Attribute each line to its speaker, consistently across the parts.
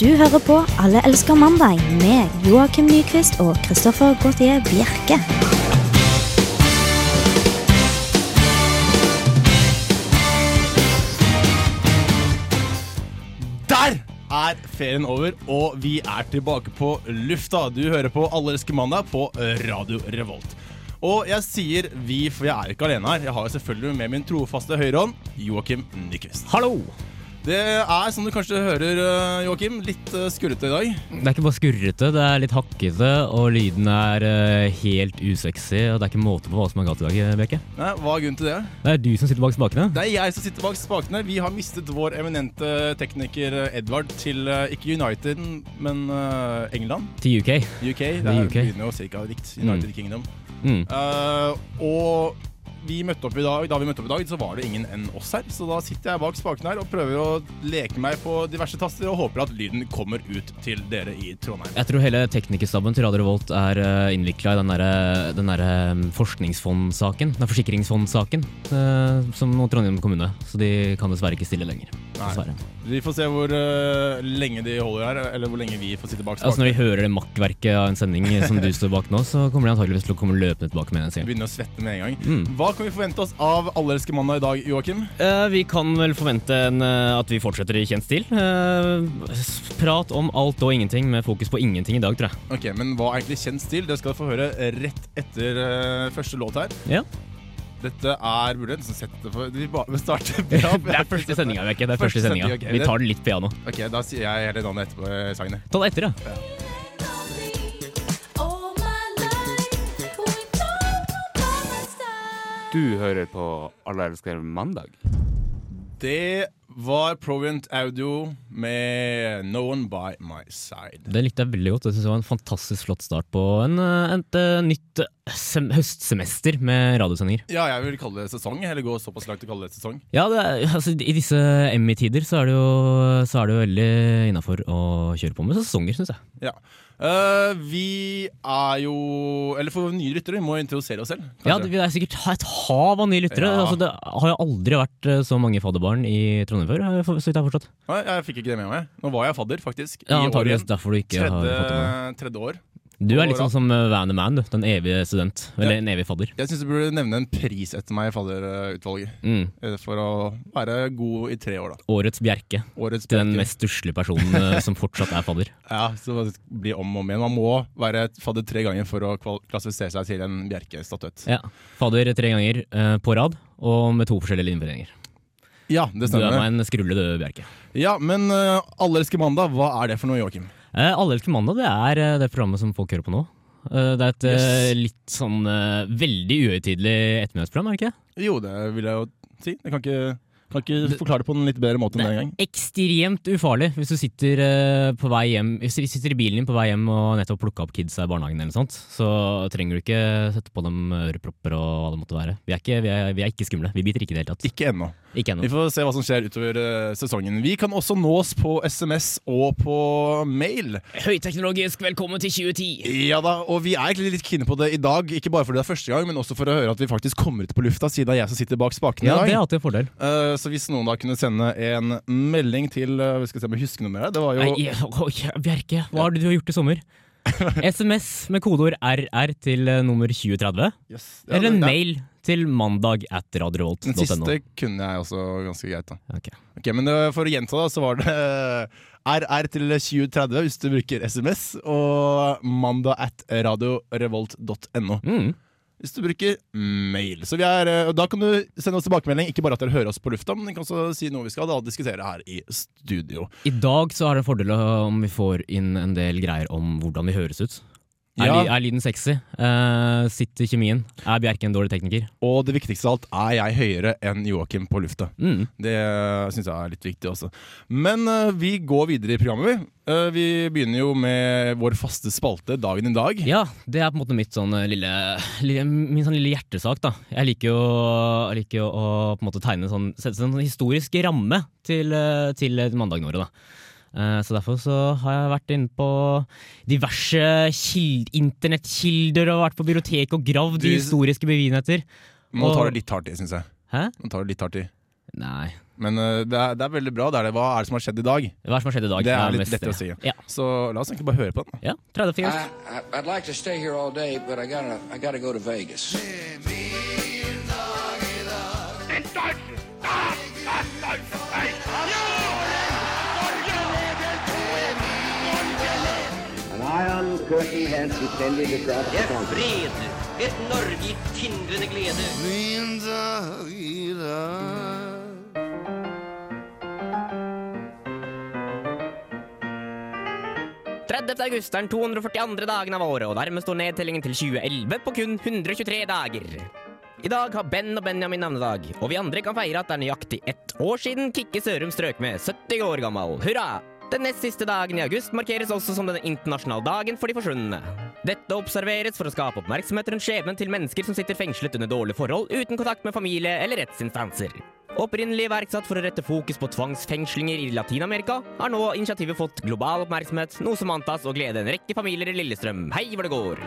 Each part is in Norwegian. Speaker 1: Du hører på Alle elsker mandag med Joakim Nyquist og Christoffer Gautier Bjerke.
Speaker 2: Der er ferien over, og vi er tilbake på lufta. Du hører på Alle elsker mandag på Radio Revolt. Og jeg sier vi, for jeg er ikke alene her. Jeg har selvfølgelig med min trofaste høyrehånd, Joakim Nyquist.
Speaker 3: Hallo!
Speaker 2: Det er, som du kanskje hører, eh, Joakim, litt eh, skurrete i dag.
Speaker 3: Det er ikke bare skurrete, det er litt hakkete, og lyden er eh, helt usexy. Og det er ikke måte på hva som er galt i dag, eh, Bjerke.
Speaker 2: Nei, hva er grunnen til det?
Speaker 3: Det er du som sitter bak spakene.
Speaker 2: Det er jeg som sitter bak spakene. Vi har mistet vår eminente tekniker eh, Edvard til eh, ikke United, men eh, England.
Speaker 3: Til UK.
Speaker 2: UK. Det
Speaker 3: Det er
Speaker 2: er
Speaker 3: UK.
Speaker 2: begynner jo cirka likt. United Kingdom.
Speaker 3: Mm.
Speaker 2: Eh, og vi møtte opp i dag, da vi møtte opp i dag, så var det ingen enn oss her. Så da sitter jeg bak spaken her og prøver å leke meg på diverse taster og håper at lyden kommer ut til dere i Trondheim.
Speaker 3: Jeg tror hele teknikerstaben til Radio Revolt er uh, innvikla i den derre den der, eh, forskningsfondsaken. Den forsikringsfondsaken eh, som nå Trondheim kommune. Så de kan dessverre ikke stille lenger. Dessverre.
Speaker 2: Vi får se hvor eh, lenge de holder her, eller hvor lenge vi får sitte bak
Speaker 3: Altså
Speaker 2: spaken.
Speaker 3: Når vi hører det makkverket av en sending som du står bak nå, så kommer de antageligvis til å komme løpende tilbake med en
Speaker 2: Vi
Speaker 3: gang.
Speaker 2: begynner å svette med en gang.
Speaker 3: Mm.
Speaker 2: Hva kan vi forvente oss av Alle elsker mandag i dag, Joakim?
Speaker 3: Eh, vi kan vel forvente en, eh, at vi fortsetter i kjent stil. Eh, s- prat om alt og ingenting med fokus på ingenting i dag, tror jeg.
Speaker 2: Ok, Men hva er egentlig kjent stil? Det skal du få høre rett etter eh, første låt her.
Speaker 3: Ja.
Speaker 2: Dette er Burde jeg nesten sette det for Vi bare starter bra. for jeg har ikke sett det.
Speaker 3: Det er første sendinga, Vekke. Det er
Speaker 2: Første
Speaker 3: første sendinga.
Speaker 2: sending, ok.
Speaker 3: Vi tar det litt piano.
Speaker 2: Ok, Da sier jeg hele navnet etterpå eh, sangen.
Speaker 3: Ta det etter, ja.
Speaker 4: Du hører på Alle elsker mandag.
Speaker 2: Det var Proviant Audio med No One By My Side.
Speaker 3: Det likte jeg veldig godt. Jeg synes det var En fantastisk flott start på en, eh, et eh, nytt eh, sem høstsemester med radiosendinger.
Speaker 2: Ja, jeg vil kalle det sesong. Eller gå såpass langt til å kalle det sesong.
Speaker 3: Ja, det er, altså, I disse Emmy-tider så, er det jo- så er det jo veldig innafor å kjøre på med sesonger, syns jeg.
Speaker 2: Ja. Eh, vi er jo Eller for nye lyttere, vi må introdusere oss selv.
Speaker 3: Ja,
Speaker 2: kanskje.
Speaker 3: det, det er sikkert ha- et hav av nye lyttere.
Speaker 2: Ja.
Speaker 3: Altså, det har jo aldri vært eh, så mange fadderbarn i Trondheim før. eh, for- Så vidt jeg har forstått.
Speaker 2: Nei, jeg fikk ikke det med meg. Nå var jeg fadder, faktisk.
Speaker 3: Ja,
Speaker 2: I år
Speaker 3: antageligvis
Speaker 2: igjen.
Speaker 3: derfor du ikke har fått det med.
Speaker 2: Tredje, tredje år.
Speaker 3: Du er litt
Speaker 2: år,
Speaker 3: sånn som eh, Van the Man, du. Den evige student. Eller
Speaker 2: Ja.
Speaker 3: en evig fadder.
Speaker 2: Jeg syns du burde nevne en pris etter meg i fadderutvalget.
Speaker 3: Mm.
Speaker 2: eh, For å være god i tre år, da.
Speaker 3: Årets Bjerke.
Speaker 2: Årets
Speaker 3: Til den
Speaker 2: bøker.
Speaker 3: mest stusslige personen eh, som fortsatt er fadder.
Speaker 2: Ja, så det blir om og om igjen. Man må være fadder tre ganger for å kval- klassifisere seg til en Bjerke-statuett.
Speaker 3: Ja. Fadder tre ganger eh, på rad, og med to forskjellige linjeforeninger.
Speaker 2: Ja, det
Speaker 3: Du er
Speaker 2: stemmer.
Speaker 3: meg en skrulle, du, Bjerke.
Speaker 2: Ja, Men eh, Alle elsker mandag, hva er det for noe, Joakim?
Speaker 3: Eh, Alle elsker mandag, det er eh, det programmet som folk hører på nå. Eh, Det er et eh, litt sånn eh, veldig uhøytidelig ettermiddagsprogram, er det ikke? det?
Speaker 2: Jo, det vil jeg jo si. Jeg kan ikke, kan ikke forklare det på en litt bedre måte enn den gang.
Speaker 3: Ekstremt ufarlig hvis du sitter, eh, på vei hjem, hvis du sitter i bilen din på vei hjem og nettopp plukka opp kidsa i barnehagen, eller noe sånt, så trenger du ikke sette på dem ørepropper og hva det måtte være. Vi er ikke, vi er, vi er ikke skumle. Vi biter ikke i det hele tatt.
Speaker 2: Ikke ennå.
Speaker 3: Ikke
Speaker 2: Vi
Speaker 3: ennå.
Speaker 2: får se hva som skjer utover eh, sesongen. Vi kan også nås på SMS og på mail.
Speaker 3: Høyteknologisk velkommen til 2010!
Speaker 2: Ja da, og vi er egentlig litt kine på det i dag. Ikke bare fordi det er første gang, men også for å høre at vi faktisk kommer ut på lufta, siden det er jeg som sitter bak spakene
Speaker 3: Ja,
Speaker 2: i dag.
Speaker 3: det er alltid en fordel.
Speaker 2: Eh, Så hvis noen da kunne sende en melding til eh, Skal vi se om jeg husker noe mer? Det var jo
Speaker 3: Nei, jeg- oi, Bjerke, hva er det du har gjort i sommer? SMS med kodeord RR til eh, nummer 2030,
Speaker 2: Yes. Ja,
Speaker 3: eller en
Speaker 2: det-
Speaker 3: mail til mandag at radiorevolt.no.
Speaker 2: Den siste kunne jeg også ganske greit. da
Speaker 3: Ok.
Speaker 2: Ok, Men eh, for å gjenta, da, så var det eh, RR til 2030 hvis du bruker SMS, og mandag at radiorevolt.no
Speaker 3: Mm.
Speaker 2: hvis du bruker mail. Så vi er, eh, og Da kan du sende oss tilbakemelding, ikke bare at dere hører oss på lufta, men dere kan også si noe vi skal da diskutere her i studio.
Speaker 3: I dag så er det en fordel om vi får inn en del greier om hvordan vi høres ut. Er,
Speaker 2: Ja.
Speaker 3: ly- er lyden sexy? Eh, sitter kjemien? Er Bjerke en dårlig tekniker?
Speaker 2: Og det viktigste av alt, er jeg høyere enn Joakim på lufta?
Speaker 3: Mm.
Speaker 2: Det syns jeg er litt viktig også. Men eh, vi går videre i programmet, vi. Eh, vi begynner jo med vår faste spalte, Dagen i dag.
Speaker 3: Ja, det er på en måte mitt sånn eh, lille, lille min sånn lille hjertesak, da. Jeg liker jo, jeg liker jo å på en måte tegne sånn, sette en sånn historisk ramme til, eh, til mandagen våre, da. Eh, Så derfor så har jeg vært inne på diverse kild- internettkilder og vært på biblioteket og gravd
Speaker 2: Du-
Speaker 3: i historiske bevigenheter.
Speaker 2: Nå tar det litt hardt i, syns jeg.
Speaker 3: Hæ?
Speaker 2: Nå tar det litt hardt i.
Speaker 3: Nei.
Speaker 2: Men eh, det, er, det er veldig bra. Det er det. Hva er det som har skjedd i dag?
Speaker 3: Hva er det som har skjedd i dag?
Speaker 2: Det er litt
Speaker 3: mest-
Speaker 2: lett å si.
Speaker 3: Ja.
Speaker 2: Så la oss egentlig bare høre på den.
Speaker 3: ja 30 fingers.
Speaker 5: I, I, I'd like to stay here all day, but I gotta, I gotta go to Vegas.
Speaker 6: An iron curtain had descended across the country.
Speaker 7: fred, et Norge i tindrende glede. august er den 242. dagen av året, og dermed står nedtellingen til 2011 på kun 123 dager. I dag har Ben og Benjamin navnedag, og vi andre kan feire at det er nøyaktig ett år siden Kikke Sørum strøk med, 70 år gammel. Hurra! Den nest siste dagen i august markeres også som den internasjonale dagen for de forsvunne. Dette observeres for å skape oppmerksomhet rundt skjebnen til mennesker som sitter fengslet under dårlige forhold uten kontakt med familie eller rettsinstanser. Opprinnelig iverksatt for å rette fokus på tvangsfengslinger i Latin-Amerika, har nå initiativet fått global oppmerksomhet, noe som antas å glede en rekke familier i Lillestrøm. Hei hvor det går!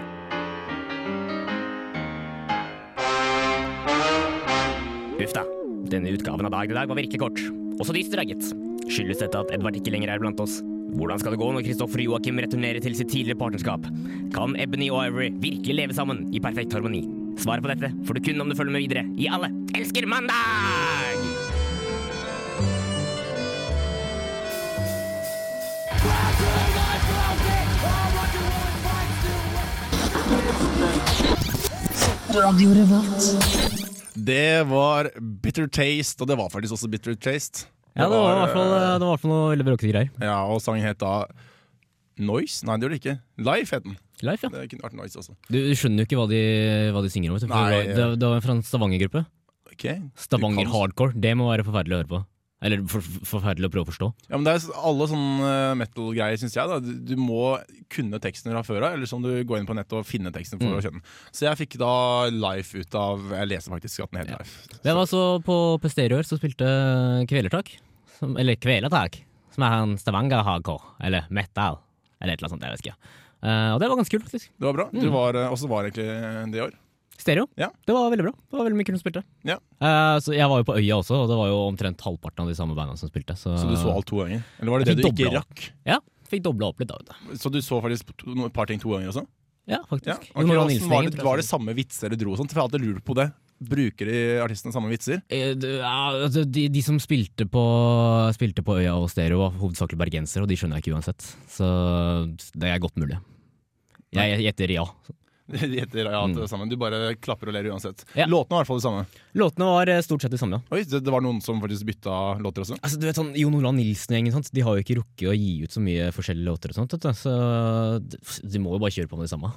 Speaker 7: Uff da. Denne utgaven av Dag i dag var virkelig kort. Også dyster, da, gitt. Skyldes dette at Edvard ikke lenger er blant oss? Hvordan skal det gå når Kristoffer og Joakim returnerer til sitt tidligere partnerskap? Kan Ebony og Ivory virkelig leve sammen i perfekt harmoni? Svaret på dette får du kun om du følger med videre i Alle elsker mandag!
Speaker 2: Det var Bitter Taste, og det var faktisk også Bitter Taste.
Speaker 3: Ja, det var i hvert fall, det var i hvert fall noe veldig bråkete greier.
Speaker 2: Ja, og sangen het da Noise? Nei, det gjorde det ikke. Life het den.
Speaker 3: Life, ja.
Speaker 2: Det kunne vært Noise også.
Speaker 3: Du skjønner jo ikke hva de, hva de synger om. vet du, for
Speaker 2: Nei,
Speaker 3: det, var, det, det var fra en Stavanger-gruppe.
Speaker 2: Ok. du
Speaker 3: Stavanger
Speaker 2: kan-
Speaker 3: hardcore. Det må være forferdelig å høre på. Eller for, for- forferdelig å prøve å forstå.
Speaker 2: Ja, men det er s- alle sånne eh, metal-greier, syns jeg. da du, du må kunne teksten fra før av, eller så må du gå inn på nettet og finne teksten
Speaker 3: Mm.
Speaker 2: for å kjenne den. Så jeg fikk da Life ut av Jeg leser faktisk at den het Life.
Speaker 3: Jeg var så på Pesterio her, så spilte eh, Kvelertak. Som, eller Kveletak, som er en Stavanger hardcore. Eller metal. Eller et eller annet sånt. Jeg vet ikke. Eh, og det var ganske kult, faktisk.
Speaker 2: Det var bra. Du var, eh, også var egentlig det i år.
Speaker 3: Stereo.
Speaker 2: Ja.
Speaker 3: Det var veldig bra. Det var veldig mye kult som spilte.
Speaker 2: Ja.
Speaker 3: Eh, så jeg var jo på Øya også, og det var jo omtrent halvparten av de samme bandene som spilte. Så,
Speaker 2: Så du så alt to ganger? Eller var det
Speaker 3: Ah.
Speaker 2: det
Speaker 3: Jeg
Speaker 2: du
Speaker 3: fikk
Speaker 2: ikke
Speaker 3: dobla
Speaker 2: rakk?
Speaker 3: Ja. Fikk dobla opp litt, da. vet du.
Speaker 2: Så du så faktisk to- no- et par ting to ganger også?
Speaker 3: Ja,
Speaker 2: Ja.
Speaker 3: faktisk. Jon
Speaker 2: ok,
Speaker 3: Olav
Speaker 2: hvordan
Speaker 3: Nilsen
Speaker 2: var,
Speaker 3: Engen,
Speaker 2: det,
Speaker 3: tror jeg sånn.
Speaker 2: var
Speaker 3: som-
Speaker 2: det samme vitser dere dro og sånt? For jeg har alltid lurt på det. Bruker de artistene samme vitser?
Speaker 3: Eh, det- ja, altså, de, de som spilte på, spilte på Øya og Stereo, var hovedsakelig bergensere, og de skjønner jeg ikke uansett. Så det er godt mulig. Jeg gjetter ja.
Speaker 2: De heter ja, det er sammen. Du bare klapper og ler uansett.
Speaker 3: Mm. Ja.
Speaker 2: Låtene var i hvert fall det samme.
Speaker 3: Låtene var eh, stort sett de samme, ja.
Speaker 2: Oi, det, det var noen som faktisk bytta låter også?
Speaker 3: Altså, du vet sånn, Jon Olav Nilsen-gjengen sant? De har jo ikke rukket å gi ut så mye forskjellige låter, og sånt, vet du. så de, de må jo bare kjøre på med det samme.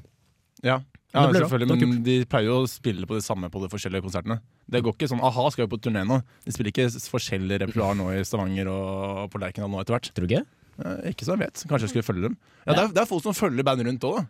Speaker 2: Ja, ja
Speaker 3: Ja, det ble bra.
Speaker 2: selvfølgelig,
Speaker 3: Det var
Speaker 2: men de pleier jo å spille på det samme på de forskjellige konsertene. Det går ikke sånn a-ha, skal jo på turné nå. De spiller ikke s- forskjellig repertoar nå i Stavanger og på Lerkendal nå etter hvert.
Speaker 3: Tror du ikke?
Speaker 2: Eh, Ikke så jeg vet. Kanskje jeg skulle følge dem. Ja, det er, det er folk som følger bandet rundt òg, da.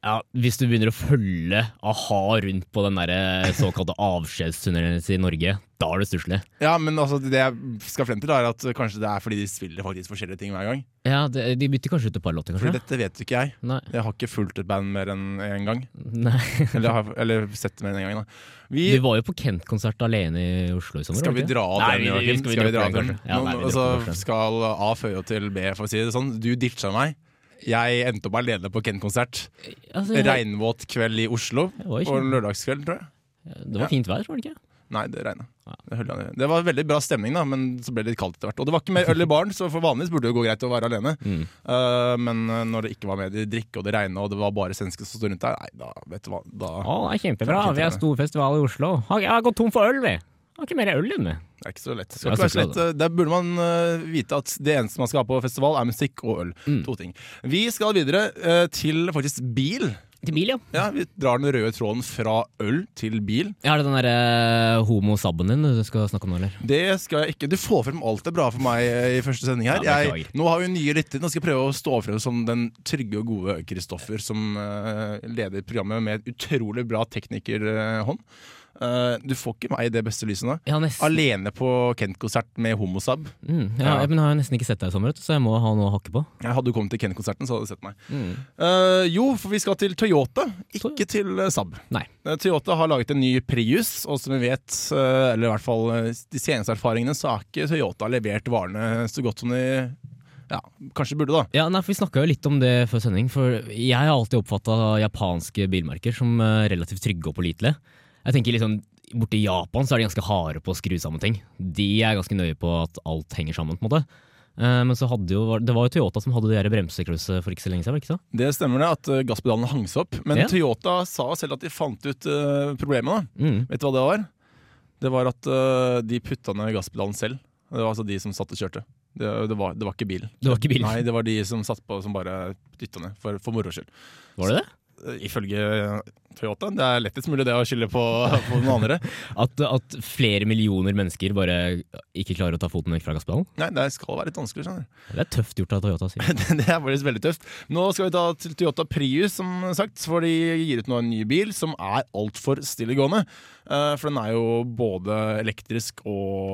Speaker 3: Ja, Hvis du begynner å følge a-ha rundt på den der såkalte avskjedsturneen i Norge, da er det stusslig.
Speaker 2: Ja, men altså, det jeg skal frem til, da, er at kanskje det er fordi de spiller faktisk forskjellige ting hver gang.
Speaker 3: Ja, de, de bytter kanskje ut et par låter,
Speaker 2: For
Speaker 3: kanskje?
Speaker 2: dette vet jo ikke jeg.
Speaker 3: Nei.
Speaker 2: Jeg har ikke fulgt et band mer enn én gang.
Speaker 3: Nei.
Speaker 2: Eller, jeg har, eller sett det mer enn én gang. Da. Vi,
Speaker 3: Du var jo på Kent-konsert alene i Oslo i sommer.
Speaker 2: Skal
Speaker 3: var det
Speaker 2: vi
Speaker 3: ikke?
Speaker 2: dra opp
Speaker 3: Nei,
Speaker 2: den,
Speaker 3: vi- vi-
Speaker 2: Joakim?
Speaker 3: Skal
Speaker 2: Skal vi dra opp den?
Speaker 3: den? Ja, nei,
Speaker 2: Nå-
Speaker 3: vi
Speaker 2: altså,
Speaker 3: dropper den.
Speaker 2: skal A føye til B, for å si det sånn. Du ditcha meg. Jeg endte opp alene på Ken-konsert.
Speaker 3: Altså, jeg-
Speaker 2: Regnvåt kveld i Oslo.
Speaker 3: Det var
Speaker 2: Og
Speaker 3: jo ikke-
Speaker 2: lørdagskveld, tror jeg.
Speaker 3: Det var fint vær, var det ikke?
Speaker 2: Nei, det regna. Det, holdt jeg ned. det var veldig bra stemning, da, men så ble det litt kaldt etter hvert. Og det var ikke mer øl i baren, så for vanligvis burde det jo gå greit å være alene.
Speaker 3: Mm.
Speaker 2: Eh, men eh, når det ikke var med i drikke, og det regna, og det var bare svensker som sto rundt der, nei, da vet du hva da,
Speaker 3: Å, det er
Speaker 2: Kanskje
Speaker 3: kjempebra. Vi har
Speaker 2: ikke.
Speaker 3: stor festival i Oslo. Har- Jeg har gått tom for øl, vi. Har ikke mer øl enn vi.
Speaker 2: Det er ikke så lett. Det
Speaker 3: Ja,
Speaker 2: Skal ikke være så
Speaker 3: så
Speaker 2: lett. Der burde man eh, vite at det eneste man skal ha på festival, er musikk og øl. To ting. Vi skal videre eh, til faktisk bil.
Speaker 3: Til bil, ja.
Speaker 2: Ja, Vi drar den røde tråden fra øl til bil.
Speaker 3: Er det den derre homo-sabben din du skal snakke om nå, eller?
Speaker 2: Det skal jeg ikke Du får frem alt det bra for meg eh, i første sending her.
Speaker 3: Ja,
Speaker 2: Jeg,
Speaker 3: beklager.
Speaker 2: nå har vi nye lyttere. Nå skal jeg prøve å stå frem som den trygge og gode Kristoffer som eh, leder programmet med et utrolig bra teknikerhånd. Eh, du får ikke meg i det beste lyset nå.
Speaker 3: Ja, nesten.
Speaker 2: Alene på Kent-konsert med homosab.
Speaker 3: Mm, ja,
Speaker 2: Ja.
Speaker 3: Men jeg har jo nesten ikke sett deg i sommer, vet du, så jeg må ha noe å hakke på.
Speaker 2: Ja, Hadde du kommet til Kent-konserten, så hadde du sett meg.
Speaker 3: Mm.
Speaker 2: Eh, jo, for vi skal til Toyota, ikke til eh, Saab.
Speaker 3: Nei.
Speaker 2: Eh, Toyota har laget en ny Prius, og som vi vet, eh, eller i hvert fall eh, de seneste erfaringene, så har ikke Toyota levert varene så godt som de ja, kanskje burde, da.
Speaker 3: Ja, nei, for Vi snakka litt om det før sending, for jeg har alltid oppfatta japanske bilmerker som eh, relativt trygge og pålitelige. Jeg tenker liksom, Borte i Japan så er de ganske harde på å skru sammen ting. De er ganske nøye på at alt henger sammen. på en måte. Eh, Men så hadde jo, det var jo Toyota som hadde det der bremseklusset for ikke så lenge siden. var det ikke så?
Speaker 2: Det stemmer det, at eh, gasspedalen hang seg opp. Men
Speaker 3: Ja.
Speaker 2: Toyota sa selv at de fant ut eh, problemet. da.
Speaker 3: Mm.
Speaker 2: Vet du hva det var? Det var at eh, de putta ned gasspedalen selv. Det var altså de som satt og kjørte. Det, det, var, det var ikke bilen.
Speaker 3: Det var ikke bilen.
Speaker 2: Nei, det var de som satt på som bare dytta ned, for, for moro skyld.
Speaker 3: Var det det?
Speaker 2: Eh, Ifølge Toyota. Det er lettest mulig det å skylde på, på noen andre.
Speaker 3: At, at flere millioner mennesker bare ikke klarer å ta foten vekk fra gasspedalen?
Speaker 2: Nei, det skal være litt vanskelig, skjønner du.
Speaker 3: Det er tøft gjort av Toyota. sier jeg.
Speaker 2: Det det er faktisk veldig tøft. Nå skal vi ta til Toyota Prius, som sagt. For de gir ut nå en ny bil som er altfor stillegående. Eh, For den er jo både elektrisk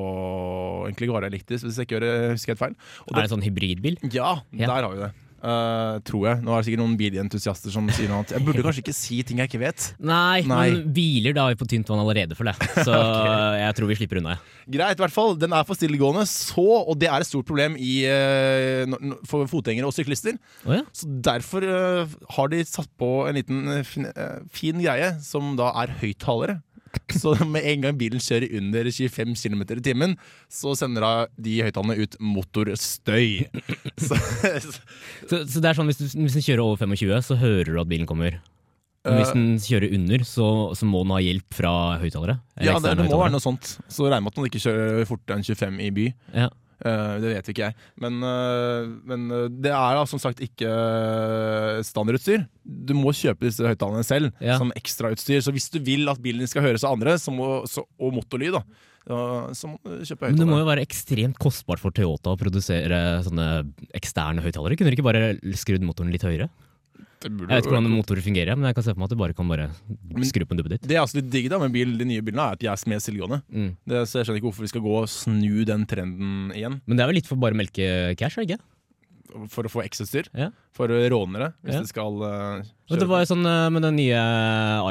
Speaker 2: og Egentlig bare elektrisk, hvis jeg ikke gjør det- husker helt feil. Og
Speaker 3: Er det en sånn hybridbil?
Speaker 2: Ja,
Speaker 3: Ja.
Speaker 2: der har vi det. Eh, tror jeg. Nå er det sikkert noen bilentusiaster som sier noe annet. Jeg burde kanskje ikke si ting jeg ikke vet.
Speaker 3: Nei,
Speaker 2: Nei.
Speaker 3: men biler da er vi på tynt vann allerede, føler jeg. Så jeg tror vi slipper unna. jeg.
Speaker 2: Greit, i hvert fall. Den er for stillegående. Så, og det er et stort problem i, eh, når- for fotgjengere og syklister.
Speaker 3: Å ja.
Speaker 2: Så derfor eh, har de satt på en liten eh, fin, eh, fin greie, som da er høyttalere. Så med en gang bilen kjører under 25 km i timen, så sender da de høyttalerne ut motorstøy. Så,
Speaker 3: Så, så det er sånn, hvis, du, hvis den kjører over 25, så hører du at bilen kommer. Men
Speaker 2: Eh.
Speaker 3: hvis den kjører under, så, så må den ha hjelp fra høyttalere. eller
Speaker 2: ja, det,
Speaker 3: eksterne
Speaker 2: det må være
Speaker 3: høyttalere.
Speaker 2: noe sånt. Så regner med at man ikke kjører fortere enn 25 i by.
Speaker 3: Ja.
Speaker 2: Eh, det vet ikke jeg. Men, eh, men eh, det er da som sagt ikke eh, standardutstyr. Du må kjøpe disse høyttalerne selv
Speaker 3: Ja.
Speaker 2: som ekstrautstyr. Så hvis du vil at bilen din skal høres av andre, så må, så, og motorlyd, da, ja, så må du kjøpe
Speaker 3: Men det må
Speaker 2: høyttalere.
Speaker 3: jo være ekstremt kostbart for Toyota å produsere sånne eksterne høyttalere. Kunne de ikke bare skrudd motoren litt høyere?
Speaker 2: Det, burde
Speaker 3: Jeg vet
Speaker 2: jo-
Speaker 3: ikke hvordan motorer fungerer, men jeg kan se for meg at du bare kan bare skru på en duppe ditt.
Speaker 2: det er altså litt digg da med bil, de nye bilene, er at de er mer stillegående.
Speaker 3: Mm.
Speaker 2: Det- Så jeg skjønner ikke hvorfor vi skal gå og snu den trenden igjen
Speaker 3: Men det er vel litt for bare å melke cash, er det ikke?
Speaker 2: for å få ekstrautstyr.
Speaker 3: Ja.
Speaker 2: For rånere, hvis
Speaker 3: Ja.
Speaker 2: de skal eh,
Speaker 3: Men det var jo sånn eh, Med den nye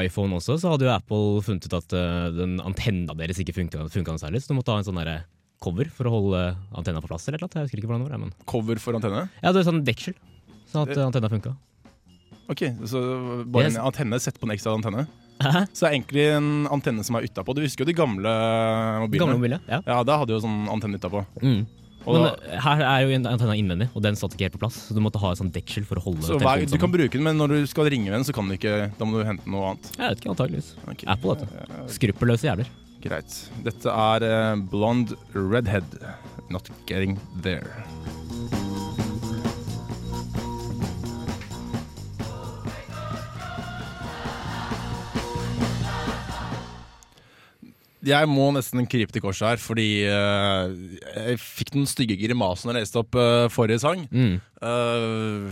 Speaker 3: iPhone også, så hadde jo Apple funnet ut at eh, den antenna deres ikke funka funka noe særlig, så du måtte ha en sånn derre cover for å holde antenna på plass. eller noe. Jeg husker ikke hvordan det var, men
Speaker 2: cover for antenne.
Speaker 3: Ja, det var sånn deksel, sånn at eh, antenna funka.
Speaker 2: Ok, så bare
Speaker 3: Det
Speaker 2: en antenne, sett på en ekstra antenne.
Speaker 3: Hæ?
Speaker 2: Så det er egentlig en antenne som er utapå. Du husker jo de gamle mobilene?
Speaker 3: Gamle mobiler, ja.
Speaker 2: Ja, da hadde jo sånn antenne utapå.
Speaker 3: Mm.
Speaker 2: Og
Speaker 3: Men
Speaker 2: da,
Speaker 3: eh, her er jo en- antenna innvendig, og den satt ikke helt på plass, så du måtte ha et sånn deksel for å holde
Speaker 2: så hver,
Speaker 3: telefonen
Speaker 2: du kan
Speaker 3: sammen.
Speaker 2: bruke den, men når du skal ringe med den, så kan du ikke Da må du hente noe annet.
Speaker 3: Jeg vet ikke, antageligvis.
Speaker 2: Ok,
Speaker 3: Apple, vet du. Skruppelløse jævler.
Speaker 2: Greit. Dette er eh, Blonde Redhead. Not getting there. Jeg må nesten krype til korset her, fordi eh, jeg fikk den stygge grimasen da jeg leste opp eh, forrige sang.
Speaker 3: Mm.
Speaker 2: Eh,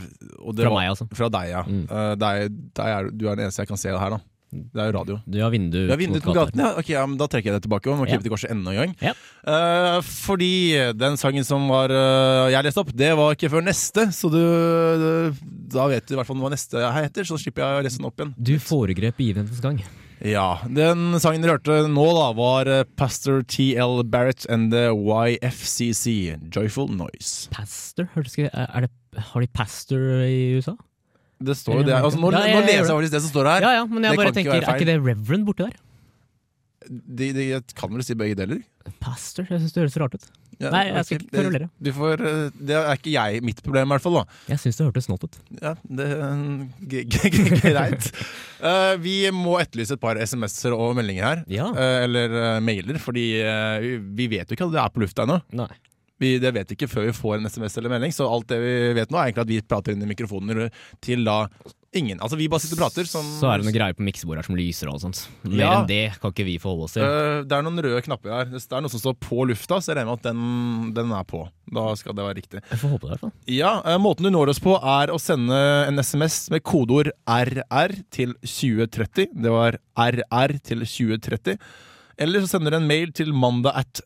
Speaker 2: og det
Speaker 3: Fra
Speaker 2: var-
Speaker 3: meg, altså.
Speaker 2: Fra deg, ja. Eh, det er, det er, du er den eneste jeg kan se her, da. Det er jo radio.
Speaker 3: Du har vindu
Speaker 2: Ja, vindu
Speaker 3: mot
Speaker 2: uten gaten, ja. Ok, ja, men da trekker jeg det tilbake. Og må
Speaker 3: Ja.
Speaker 2: krype til korset enda en gang.
Speaker 3: Ja.
Speaker 2: Eh, fordi den sangen som var eh, jeg leste opp, det var ikke før neste, så du eh, Da vet du i hvert fall hva neste her heter, så slipper jeg å lese den opp igjen.
Speaker 3: Du foregrep begivenhetens gang.
Speaker 2: Ja, Den sangen dere hørte nå, da, var eh, Pastor TL Barrett and the YFCC, Joyful Noise.
Speaker 3: Pastor? Hørtes ikke er det, Har de pastor i USA?
Speaker 2: Det står jo
Speaker 3: Ja,
Speaker 2: det. Altså, nå,
Speaker 3: ja, ja, ja,
Speaker 2: nå leser jeg faktisk det som står her.
Speaker 3: Ja ja, men jeg
Speaker 2: Det
Speaker 3: bare
Speaker 2: kan ikke
Speaker 3: tenker,
Speaker 2: være feil.
Speaker 3: er ikke det reverend borte der?
Speaker 2: De, de kan vel si begge deler?
Speaker 3: Pastor? Jeg syns det høres rart ut.
Speaker 2: Ja,
Speaker 3: Nei, jeg skal
Speaker 2: ok,
Speaker 3: ikke
Speaker 2: det-
Speaker 3: kverulere.
Speaker 2: Du får, eh, det er ikke jeg mitt problem, i hvert fall. da
Speaker 3: Jeg syns det hørtes snålt ut.
Speaker 2: Ja, det g- g- g- greit. Eh, vi må etterlyse et par SMS-er og meldinger her.
Speaker 3: Ja.
Speaker 2: Eh, eller eh, mailer, fordi eh, vi- vi vet jo ikke at det er på lufta ennå.
Speaker 3: Nei.
Speaker 2: Vi, det vet vi ikke før vi får en SMS eller melding, så alt det vi vet nå, er egentlig at vi prater inn i mikrofoner til da ingen. Altså, vi bare sitter og prater som
Speaker 3: Så er det noen greier på miksebordet her som lyser og alt sånt. Mer
Speaker 2: Ja.
Speaker 3: enn det kan ikke vi forholde oss til.
Speaker 2: Eh, det er noen røde knapper her. Det er noe som står på lufta, så jeg regner med at den, den er på. Da skal det være riktig.
Speaker 3: Jeg får håpe det, i hvert fall.
Speaker 2: Ja, eh, Måten du når oss på, er å sende en SMS med kodeord RR til 2030. Det var RR til 2030. Eller så sender du en mail til mandag at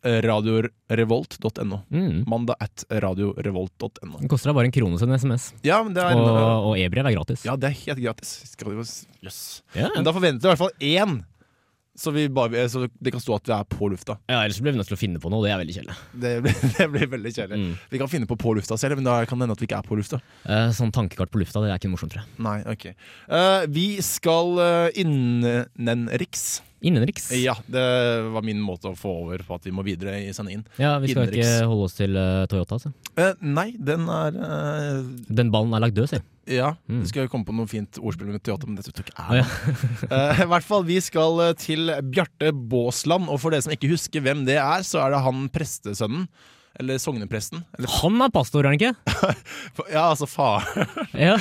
Speaker 2: radiorevolt.no.
Speaker 3: Mm.
Speaker 2: Mandag at radiorevolt.no.
Speaker 3: Det koster deg bare en krone til en SMS,
Speaker 2: Ja, men det er, eh,
Speaker 3: og, og e-brev er gratis.
Speaker 2: ja, det er helt gratis. Skal du, yes.
Speaker 3: Ja.
Speaker 2: Men da forventer du i hvert fall én, så, vi bare, eh, så det kan stå at vi er på lufta.
Speaker 3: Ja, ellers blir vi nødt til å finne på noe, det er veldig kjedelig.
Speaker 2: Det blir, det blir veldig kjedelig. Vi kan finne på på lufta selv, men da kan det hende at vi ikke er på lufta.
Speaker 3: Eh, sånn tankekart på lufta, det er ikke morsomt, tror jeg.
Speaker 2: Nei, ok. Eh, vi skal eh, innenriks.
Speaker 3: Innenriks.
Speaker 2: Ja, det var min måte å få over på at vi må videre i sendingen.
Speaker 3: Ja, vi skal
Speaker 2: innenriks.
Speaker 3: ikke holde oss til eh, Toyota, altså.
Speaker 2: Eh, nei, den er eh,
Speaker 3: Den ballen er lagt død, sier jeg.
Speaker 2: Ja, du skal jo komme på noe fint ordspill med Toyota, men det tror jeg ikke er det. Eh, I hvert fall, vi skal eh, til Bjarte Båsland, og for dere som ikke husker hvem det er, så er det han prestesønnen. Eller sognepresten. Eller,
Speaker 3: Han er pastor, er han ikke?
Speaker 2: ja, altså far,
Speaker 3: Ja.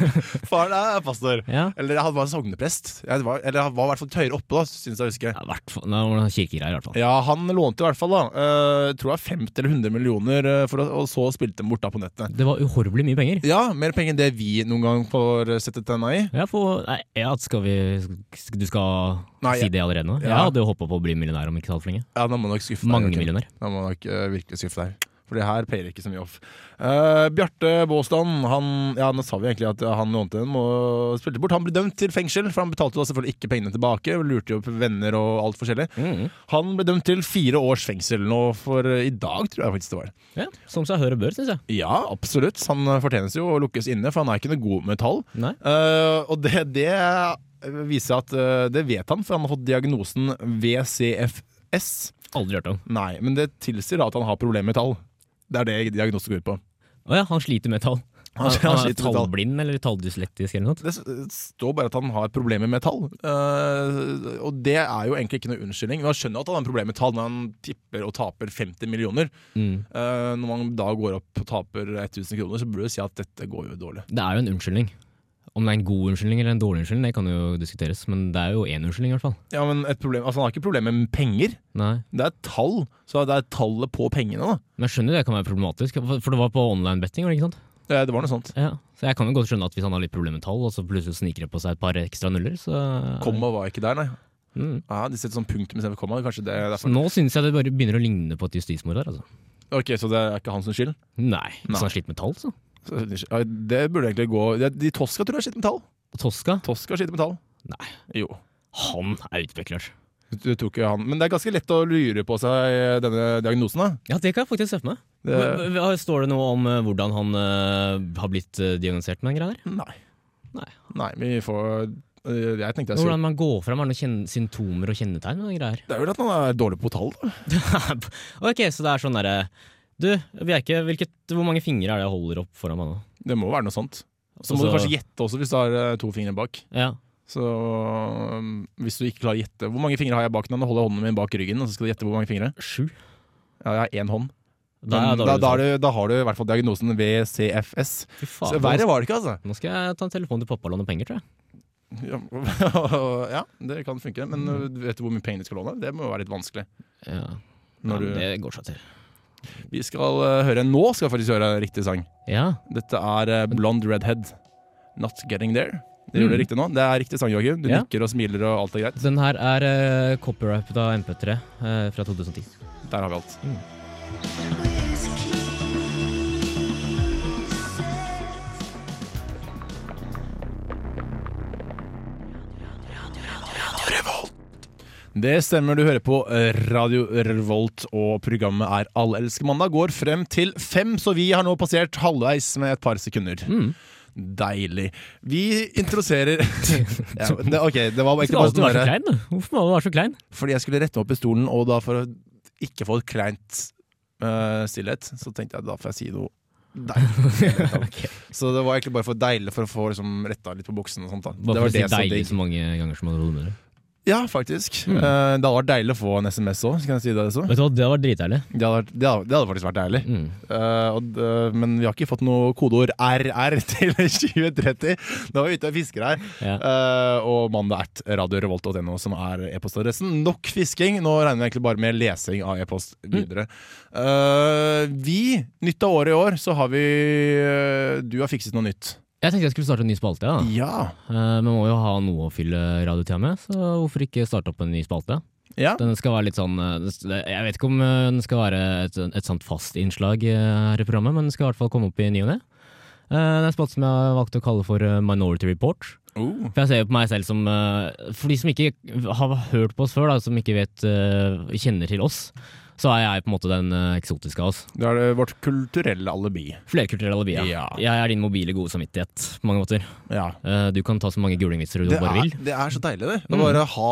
Speaker 2: faren er pastor.
Speaker 3: ja.
Speaker 2: Eller han var sogneprest. Ja, det var, eller han var i hvert fall høyere oppe, da, syns jeg å huske.
Speaker 3: Ja, hvert fall. Nei, det var noen kirkegreier, i hvert fall.
Speaker 2: Ja, han lånte i hvert fall da eh, tror jeg 50 eller 100 millioner, eh, for å, og så spilte dem bort da på nettet.
Speaker 3: Det var uhorvelig mye penger.
Speaker 2: Ja, mer penger enn det vi noen gang får settet tenna i.
Speaker 3: Ja, for, nei, ja, skal vi sk- Du skal
Speaker 2: Nei,
Speaker 3: si det allerede nå? Jeg
Speaker 2: Ja.
Speaker 3: hadde jo håpa på å bli millionær om ikke så altfor lenge.
Speaker 2: Ja, da må du nok skuffe deg.
Speaker 3: Mange
Speaker 2: Joakim.
Speaker 3: millioner.
Speaker 2: Da må du nok eh, virkelig skuffe deg. For det her peiler ikke så mye off. Eh, Bjarte Båsland, han Ja, nå sa vi egentlig at eh, han lånte dem og spilte bort. Han ble dømt til fengsel, for han betalte da selvfølgelig ikke pengene tilbake. Lurte jo opp venner og alt forskjellig.
Speaker 3: Mm.
Speaker 2: Han ble dømt til fire års fengsel nå, for eh, i dag tror jeg faktisk det var.
Speaker 3: Ja, Som seg hør og bør, syns jeg.
Speaker 2: Ja, absolutt. Han eh, fortjenes jo å lukkes inne, for han er ikke noe god med tall.
Speaker 3: Nei.
Speaker 2: Eh, og det, det viser at eh, det vet han, for han har fått diagnosen VCFS.
Speaker 3: Aldri hørt om.
Speaker 2: Nei, men det tilsier da at han har problemer med tall. Det er det diagnosen går ut på.
Speaker 3: Å ja, han sliter med tall. Altså,
Speaker 2: Han-
Speaker 3: Han,
Speaker 2: han
Speaker 3: han
Speaker 2: sliter
Speaker 3: er
Speaker 2: med tall.
Speaker 3: tallblind eller taldyslektisk eller noe sånt.
Speaker 2: Det s- eh, står bare at han har problemer med tall. Eh, og det er jo egentlig ikke noe unnskyldning. Man skjønner at han har problemer med tall når han tipper og taper 50 millioner.
Speaker 3: Mm.
Speaker 2: Eh, når man da går opp og taper 1000 kroner, så burde du si at dette går jo dårlig.
Speaker 3: Det er jo en unnskyldning. Om det er en god unnskyldning eller en dårlig unnskyldning, det kan jo diskuteres, men det er jo én unnskyldning i hvert fall.
Speaker 2: Ja, men et problem, altså Han har ikke problemer med penger.
Speaker 3: Nei.
Speaker 2: Det er tall, så det er tallet på pengene, da.
Speaker 3: Men jeg skjønner jo det kan være problematisk, for for det var på online betting, var det ikke sant?
Speaker 2: Eh, Det var noe sånt.
Speaker 3: Ja. Så jeg kan jo godt skjønne at hvis han har litt problemer med tall, og så plutselig sniker det på seg et par ekstra nuller, så
Speaker 2: Komma var ikke der, nei.
Speaker 3: Mm.
Speaker 2: Ja, de setter sånn punktum istedenfor komma. Kanskje det er
Speaker 3: Så
Speaker 2: derfor.
Speaker 3: nå syns jeg det bare begynner å ligne på et justismord der, altså.
Speaker 2: Ok, Så det er ikke hans skyld?
Speaker 3: Nei.
Speaker 2: Nei.
Speaker 3: Så han sliter med tall, altså. så.
Speaker 2: Så- ja, Det burde egentlig gå De- De Tosca tror jeg sliter med tall.
Speaker 3: Toska?
Speaker 2: Tosca sliter med tall.
Speaker 3: Nei.
Speaker 2: Jo.
Speaker 3: Han er utvikler.
Speaker 2: Du tok jo han. Men det er ganske lett å lure på seg eh, denne diagnosen, da.
Speaker 3: Ja, det kan jeg faktisk se for meg.
Speaker 2: Det-
Speaker 3: Men, hva- Står det noe om eh, hvordan han eh, har blitt eh, diagnosert med den greia der?
Speaker 2: Nei.
Speaker 3: Nei.
Speaker 2: Nei, vi får eh, Jeg tenkte jeg skulle
Speaker 3: Hvordan man går fram? Er det noen kjen- symptomer og kjennetegn? og noen greier?
Speaker 2: Det er vel at han er dårlig på tall, da.
Speaker 3: ok, så det er sånn derre Du, Bjerke, hvilket, hvor mange fingre er det jeg holder opp foran meg nå?
Speaker 2: Det må være noe sånt. Så må du
Speaker 3: Altså-
Speaker 2: kanskje gjette også, hvis du har eh, to fingre bak.
Speaker 3: Ja.
Speaker 2: Så um, hvis du ikke klarer å gjette Hvor mange fingre har jeg bak den? Da holder jeg hånden min bak ryggen, og så skal du gjette hvor mange fingre.
Speaker 3: Sju.
Speaker 2: Ja, jeg har én hånd.
Speaker 3: Da er jeg
Speaker 2: Men
Speaker 3: dårlig.
Speaker 2: da, er du, da har du i hvert fall diagnosen VCFS.
Speaker 3: Fy
Speaker 2: Så
Speaker 3: faen,
Speaker 2: verre
Speaker 3: nå-
Speaker 2: var det ikke, altså.
Speaker 3: Nå skal jeg ta en telefon til pappa og låne penger, tror jeg.
Speaker 2: Ja, ja, det kan funke.
Speaker 3: Mm.
Speaker 2: Men uh, vet du hvor mye penger du skal låne? Det må jo være litt vanskelig.
Speaker 3: Ja.
Speaker 2: Når
Speaker 3: Ja,
Speaker 2: du-
Speaker 3: Det går seg til.
Speaker 2: Vi skal uh, høre Nå skal jeg faktisk høre riktig sang.
Speaker 3: Ja.
Speaker 2: Dette er uh, Blond Redhead. Not Getting There. Det gjorde det riktig nå. Det er riktig sang, Joakim. Du
Speaker 3: Mm. Ja.
Speaker 2: nikker og smiler og alt er greit.
Speaker 3: Den her er uh, copyright av MP3 eh, fra 2010.
Speaker 2: Der har vi alt. Det stemmer, du hører på eh, Radio Revolt, og programmet er Allelsker mandag. Går frem til fem, så vi har nå passert halvveis med et par sekunder. Deilig. Vi introduserer ja, det, Ok, det var
Speaker 3: Hvorfor
Speaker 2: egentlig
Speaker 3: må
Speaker 2: bare
Speaker 3: du
Speaker 2: sånn
Speaker 3: være så
Speaker 2: der-
Speaker 3: klein? da? Hvorfor må du være så klein?
Speaker 2: Fordi jeg skulle rette meg opp i stolen, og da for å ikke få et kleint eh, stillhet, så tenkte jeg da får jeg si noe deilig. Så det var egentlig bare for deilig for å få liksom, retta litt på buksen og sånt. da Det var
Speaker 3: Bare for å
Speaker 2: det
Speaker 3: si
Speaker 2: som
Speaker 3: deilig
Speaker 2: digg.
Speaker 3: så mange ganger som man holder med det.
Speaker 2: Ja, faktisk. Eh, det hadde vært deilig å få en SMS òg. Skal jeg si det også?
Speaker 3: Vet du hva, det hadde vært dritdeilig.
Speaker 2: Det hadde, vært, det hadde, det hadde faktisk vært deilig. Eh, og, d- eh, men vi har ikke fått noe kodeord RR til 2030. Nå er vi ute og fisker her.
Speaker 3: Ja.
Speaker 2: Eh, og mandag at radiorevolt.no, som er e-postadressen. Nok fisking. Nå regner vi egentlig bare med lesing av e-post videre. Eh, vi, nytt av året i år, så har vi eh, Du har fikset noe nytt.
Speaker 3: Jeg tenkte jeg skulle starte en ny spalte. Ja.
Speaker 2: Ja.
Speaker 3: Eh, Men må jo ha noe å fylle radiotida med, så hvorfor ikke starte opp en ny spalte?
Speaker 2: ja.
Speaker 3: Den skal være litt sånn eh, den s- Jeg vet ikke om eh, den skal være et, et sånt fast innslag eh, her i programmet, men den skal i hvert fall komme opp i ny og ne. Eh, Det er en spalte som jeg har valgt å kalle for eh, Minority Report.
Speaker 2: Oh.
Speaker 3: For jeg ser jo på meg selv som eh, For de som ikke har hørt på oss før, da, som ikke vet, eh, kjenner til oss, så er jeg på en måte den eh, eksotiske av oss.
Speaker 2: Det er det vårt kulturelle alibi.
Speaker 3: Flerkulturell alibi.
Speaker 2: Ja.
Speaker 3: Ja. Jeg er din mobile gode samvittighet på mange måter.
Speaker 2: Ja.
Speaker 3: Eh, Du kan ta så mange gulingvitser du
Speaker 2: Det
Speaker 3: bare
Speaker 2: er,
Speaker 3: vil. Mm.
Speaker 2: det er så deilig, det. Å bare ha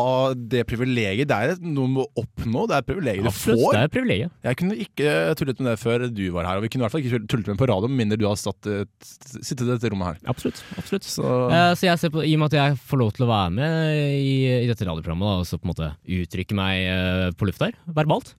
Speaker 2: det privilegiet. Det er et- noe du må oppnå, det er et privilegium du
Speaker 3: Absolutt, det
Speaker 2: får.
Speaker 3: er et privilegium.
Speaker 2: Jeg kunne ikke tullet med det før du var her, og vi kunne i hvert fall ikke tull- tullet med det på radio med mindre du har satt, et- sittet i dette rommet her.
Speaker 3: Absolutt. absolutt.
Speaker 2: Så
Speaker 3: Eh, så jeg ser på, I og med at jeg får lov til å være med i, i dette radioprogrammet da, og så på en måte uttrykke meg eh, på lufta her, verbalt,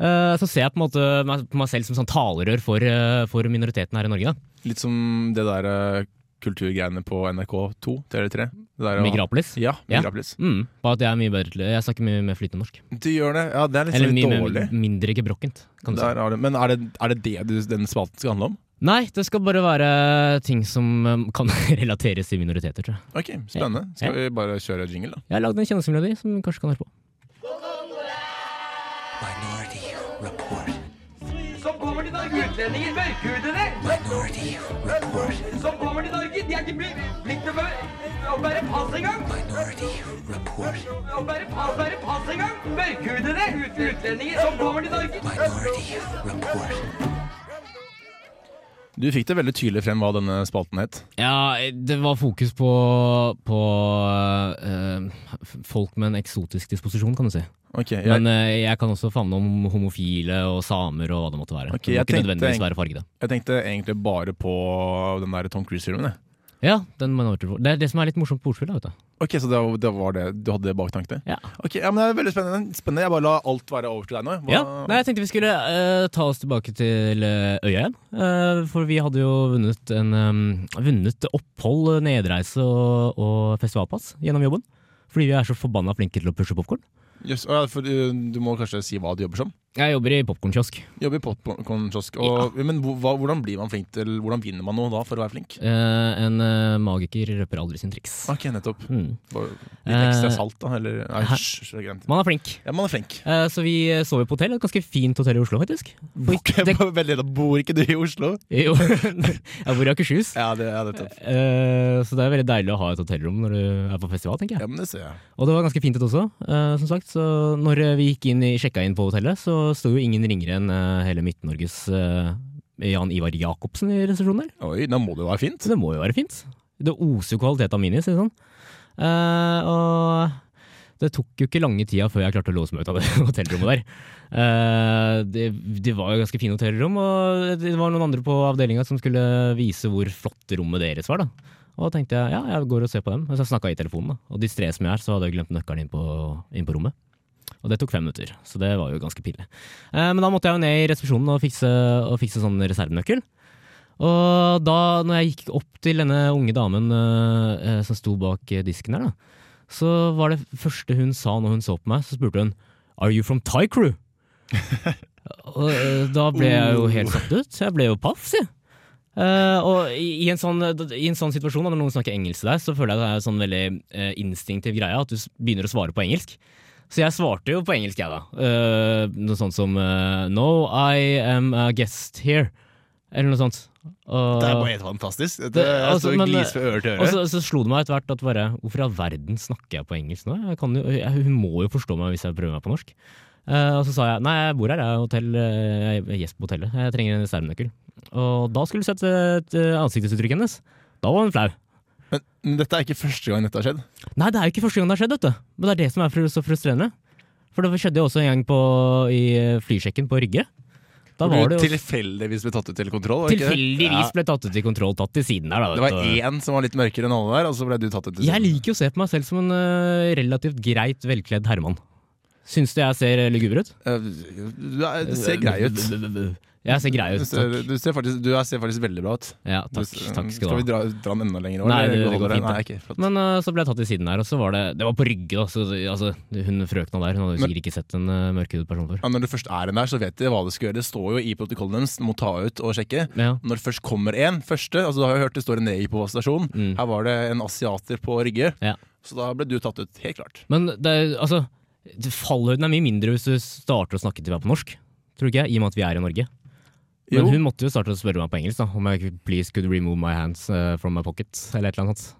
Speaker 3: eh, så ser jeg på en måte meg, på meg selv som sånn talerør for, eh, for minoriteten her i Norge. da.
Speaker 2: litt som det der eh, kulturgreiene på NRK2, TV3. Det der, å-
Speaker 3: Migrapolis.
Speaker 2: Ja,
Speaker 3: Ja.
Speaker 2: Migrapolis.
Speaker 3: Mm, bare at jeg er mye bedre til Jeg snakker mye mer flytende norsk.
Speaker 2: Du gjør det. Ja, det er litt,
Speaker 3: Eller
Speaker 2: sånn
Speaker 3: mye
Speaker 2: litt
Speaker 3: mer,
Speaker 2: dårlig.
Speaker 3: mindre gebrokkent, kan du si.
Speaker 2: Der har du- Men er det er det, det du, den spalten skal handle om?
Speaker 3: Nei, det skal bare være ting som eh, kan relateres til minoriteter, tror jeg.
Speaker 2: Ok, spennende. Skal vi bare kjøre jingle, da?
Speaker 3: Jeg har lagd en kjennesmelodi som vi kanskje kan høre på.
Speaker 8: som kommer til Norge, utlendinger, mørkhudede. Som kommer til Norge, de er ikke blitt blitt til å bære- å bære pass engang. Å bære pass, bære pass engang. Mørkhudede ut, utlendinger som kommer til Norge.
Speaker 2: Du fikk det veldig tydelig frem hva denne spalten het.
Speaker 3: Ja, det var fokus på, på eh, f- folk med en eksotisk disposisjon, kan du si.
Speaker 2: Ok, jeg,
Speaker 3: Men eh, jeg kan også favne om homofile og samer og hva det måtte være.
Speaker 2: Ok,
Speaker 3: det må
Speaker 2: jeg
Speaker 3: ikke
Speaker 2: tenkte
Speaker 3: nødvendigvis
Speaker 2: egentlig-
Speaker 3: være fargede.
Speaker 2: Jeg tenkte egentlig bare på den der Tom Cruise-filmen. jeg.
Speaker 3: Ja, den minority report. Det er det som er litt morsomt på ordspill. da, vet du.
Speaker 2: Ok, Så det var, det var det du hadde baktanke?
Speaker 3: Ja.
Speaker 2: Ok, ja, men Det er veldig spennende. spennende. Jeg bare la alt være over til deg nå. Hva-
Speaker 3: Ja, nei, jeg tenkte vi skulle eh, ta oss tilbake til eh, øya igjen. Eh, for vi hadde jo vunnet, en, eh, vunnet opphold, eh, nedreise og, og festivalpass gjennom jobben. Fordi vi er så forbanna flinke til å pushe popkorn.
Speaker 2: Jøss, å ja, for uh, Du må kanskje si hva du jobber som?
Speaker 3: Jeg jobber i popkornkiosk.
Speaker 2: Jobber i popkornkiosk. og- Men hvor- hva, hvordan blir man flink til Hvordan vinner man noe da, for å være flink?
Speaker 3: Eh, en eh, magiker røper aldri sin triks.
Speaker 2: Ok, nettopp.
Speaker 3: Mm.
Speaker 2: Bare Litt ekstra
Speaker 3: Eh,
Speaker 2: salt, da? Eller nei, hysj, hysj, det er greit.
Speaker 3: Man er flink.
Speaker 2: Ja, man er flink.
Speaker 3: Eh, så vi eh, sov jo på hotell, et ganske fint hotell i Oslo, faktisk. På-
Speaker 2: Ok,
Speaker 3: det-
Speaker 2: bare vent litt, da Bor ikke du i Oslo?
Speaker 3: Jo, jeg bor i Akershus.
Speaker 2: Ja, det er nettopp.
Speaker 3: Eh, så det er veldig deilig å ha et hotellrom når du er på festival, tenker jeg.
Speaker 2: Ja, men det ser jeg.
Speaker 3: Og det var ganske fint et også, eh, som sagt. Så når eh, vi gikk inn i, sjekka inn på hotellet, så sto jo ingen ringere enn eh, hele Midt-Norges eh, Jan Ivar Jacobsen i resepsjonen der.
Speaker 2: Oi, da må det jo være fint.
Speaker 3: Så det må jo være fint. Det oser jo kvalitet av minis, ikke sant. Eh, og det tok jo ikke lange tida før jeg klarte å låse meg ut av det hotellrommet der. Eh, det, det var jo ganske fine hotellrom, og det var noen andre på avdelinga som skulle vise hvor flott rommet deres var. da. Og da tenkte jeg ja, jeg går og ser på dem. Men så snakka jeg i telefonen, da. og distré som jeg er, så hadde jeg glemt nøkkelen inn på, inn på rommet. Og det tok fem minutter, så det var jo ganske pinlig. Eh, men da måtte jeg jo ned i resepsjonen og fikse, og fikse sånn reservenøkkel. Og da når jeg gikk opp til denne unge damen eh, eh, som sto bak eh, disken her, da, så var det første hun sa når hun så på meg, så spurte hun Are you from Thai crew? og eh, da ble jeg jo helt satt ut. Jeg ble jo paff, si. Eh, og i, i, en sånn, I en sånn situasjon, da, når noen snakker engelsk til deg, så føler jeg det er en sånn veldig eh, instinktiv greie at du s- begynner å svare på engelsk. Så jeg svarte jo på engelsk, jeg, da. Eh, noe sånt som eh, No, I am a guest here. Eller noe sånt. Og-
Speaker 2: Det er bare helt fantastisk. Dette,
Speaker 3: Det-
Speaker 2: jeg
Speaker 3: altså,
Speaker 2: står og
Speaker 3: men-
Speaker 2: gliser fra øre til
Speaker 3: og
Speaker 2: øre.
Speaker 3: så, så slo det meg etter hvert at bare, hvorfor i all verden snakker jeg på engelsk nå? Jeg kan jo, jeg, hun må jo forstå meg hvis jeg prøver meg på norsk. Eh, og så sa jeg nei, jeg bor her, jeg er, hotell, eh, jeg er gjest på hotellet, jeg trenger en reservenøkkel. Og da skulle du sett eh, ansiktsuttrykket hennes. Da var hun flau.
Speaker 2: Men, men dette er ikke første gang dette har skjedd.
Speaker 3: Nei, det er jo ikke første gang det har skjedd, vet du. Men det er det som er fru- så frustrerende. For det skjedde jo også en gang på, i eh, flysjekken på Rygge. Da
Speaker 2: Hvor
Speaker 3: var
Speaker 2: du
Speaker 3: det jo
Speaker 2: tilfeldigvis ble tatt ut til kontroll? var det ikke det?
Speaker 3: tilfeldigvis ble tatt ut til kontroll tatt til siden der. Da,
Speaker 2: Det
Speaker 3: vet
Speaker 2: var
Speaker 3: du.
Speaker 2: én som var litt mørkere enn alle der, og så ble du tatt ut. til
Speaker 3: Jeg
Speaker 2: siden.
Speaker 3: liker jo å se på meg selv som en øh, relativt greit velkledd herremann. Syns du jeg ser luguber ut?
Speaker 2: Eh, Du, er- du ser grei ut.
Speaker 3: Jeg ser grei
Speaker 2: Du
Speaker 3: ut,
Speaker 2: ser,
Speaker 3: takk.
Speaker 2: du, ser faktisk, du er- ser faktisk veldig bra ut.
Speaker 3: Ja,
Speaker 2: Du
Speaker 3: takk,
Speaker 2: ser-
Speaker 3: takk skal
Speaker 2: vi
Speaker 3: du ha.
Speaker 2: dra, dra den enda lenger nå?
Speaker 3: Nei,
Speaker 2: eller
Speaker 3: det- det
Speaker 2: beholder
Speaker 3: går
Speaker 2: den?
Speaker 3: fint,
Speaker 2: Nei, ok, flott.
Speaker 3: Men øh, så ble jeg tatt til siden her, og så var det Det var på Rygge, da. Så, altså, hun frøkna der hun hadde jo
Speaker 2: Men-
Speaker 3: sikkert ikke sett en øh, mørkhudet person før.
Speaker 2: ja, når du først er en der, så vet de hva de skal gjøre. Det står jo i protokollen deres, må ta ut og sjekke.
Speaker 3: Ja.
Speaker 2: Når det først kommer en første, altså du har jo hørt det står en nei på stasjonen.
Speaker 3: Mm.
Speaker 2: Her var det en asiater på Rygge,
Speaker 3: Ja.
Speaker 2: så da ble du tatt ut, helt klart.
Speaker 3: Men det, er- altså, fallhøyden er mye mindre hvis du starter å snakke til meg på norsk. Tror du ikke jeg, I og med at vi er i Norge. Men
Speaker 2: Jo.
Speaker 3: hun måtte jo starte å spørre meg på engelsk da om jeg could- please could remove my hands eh, from my pocket. Eller et eller annet.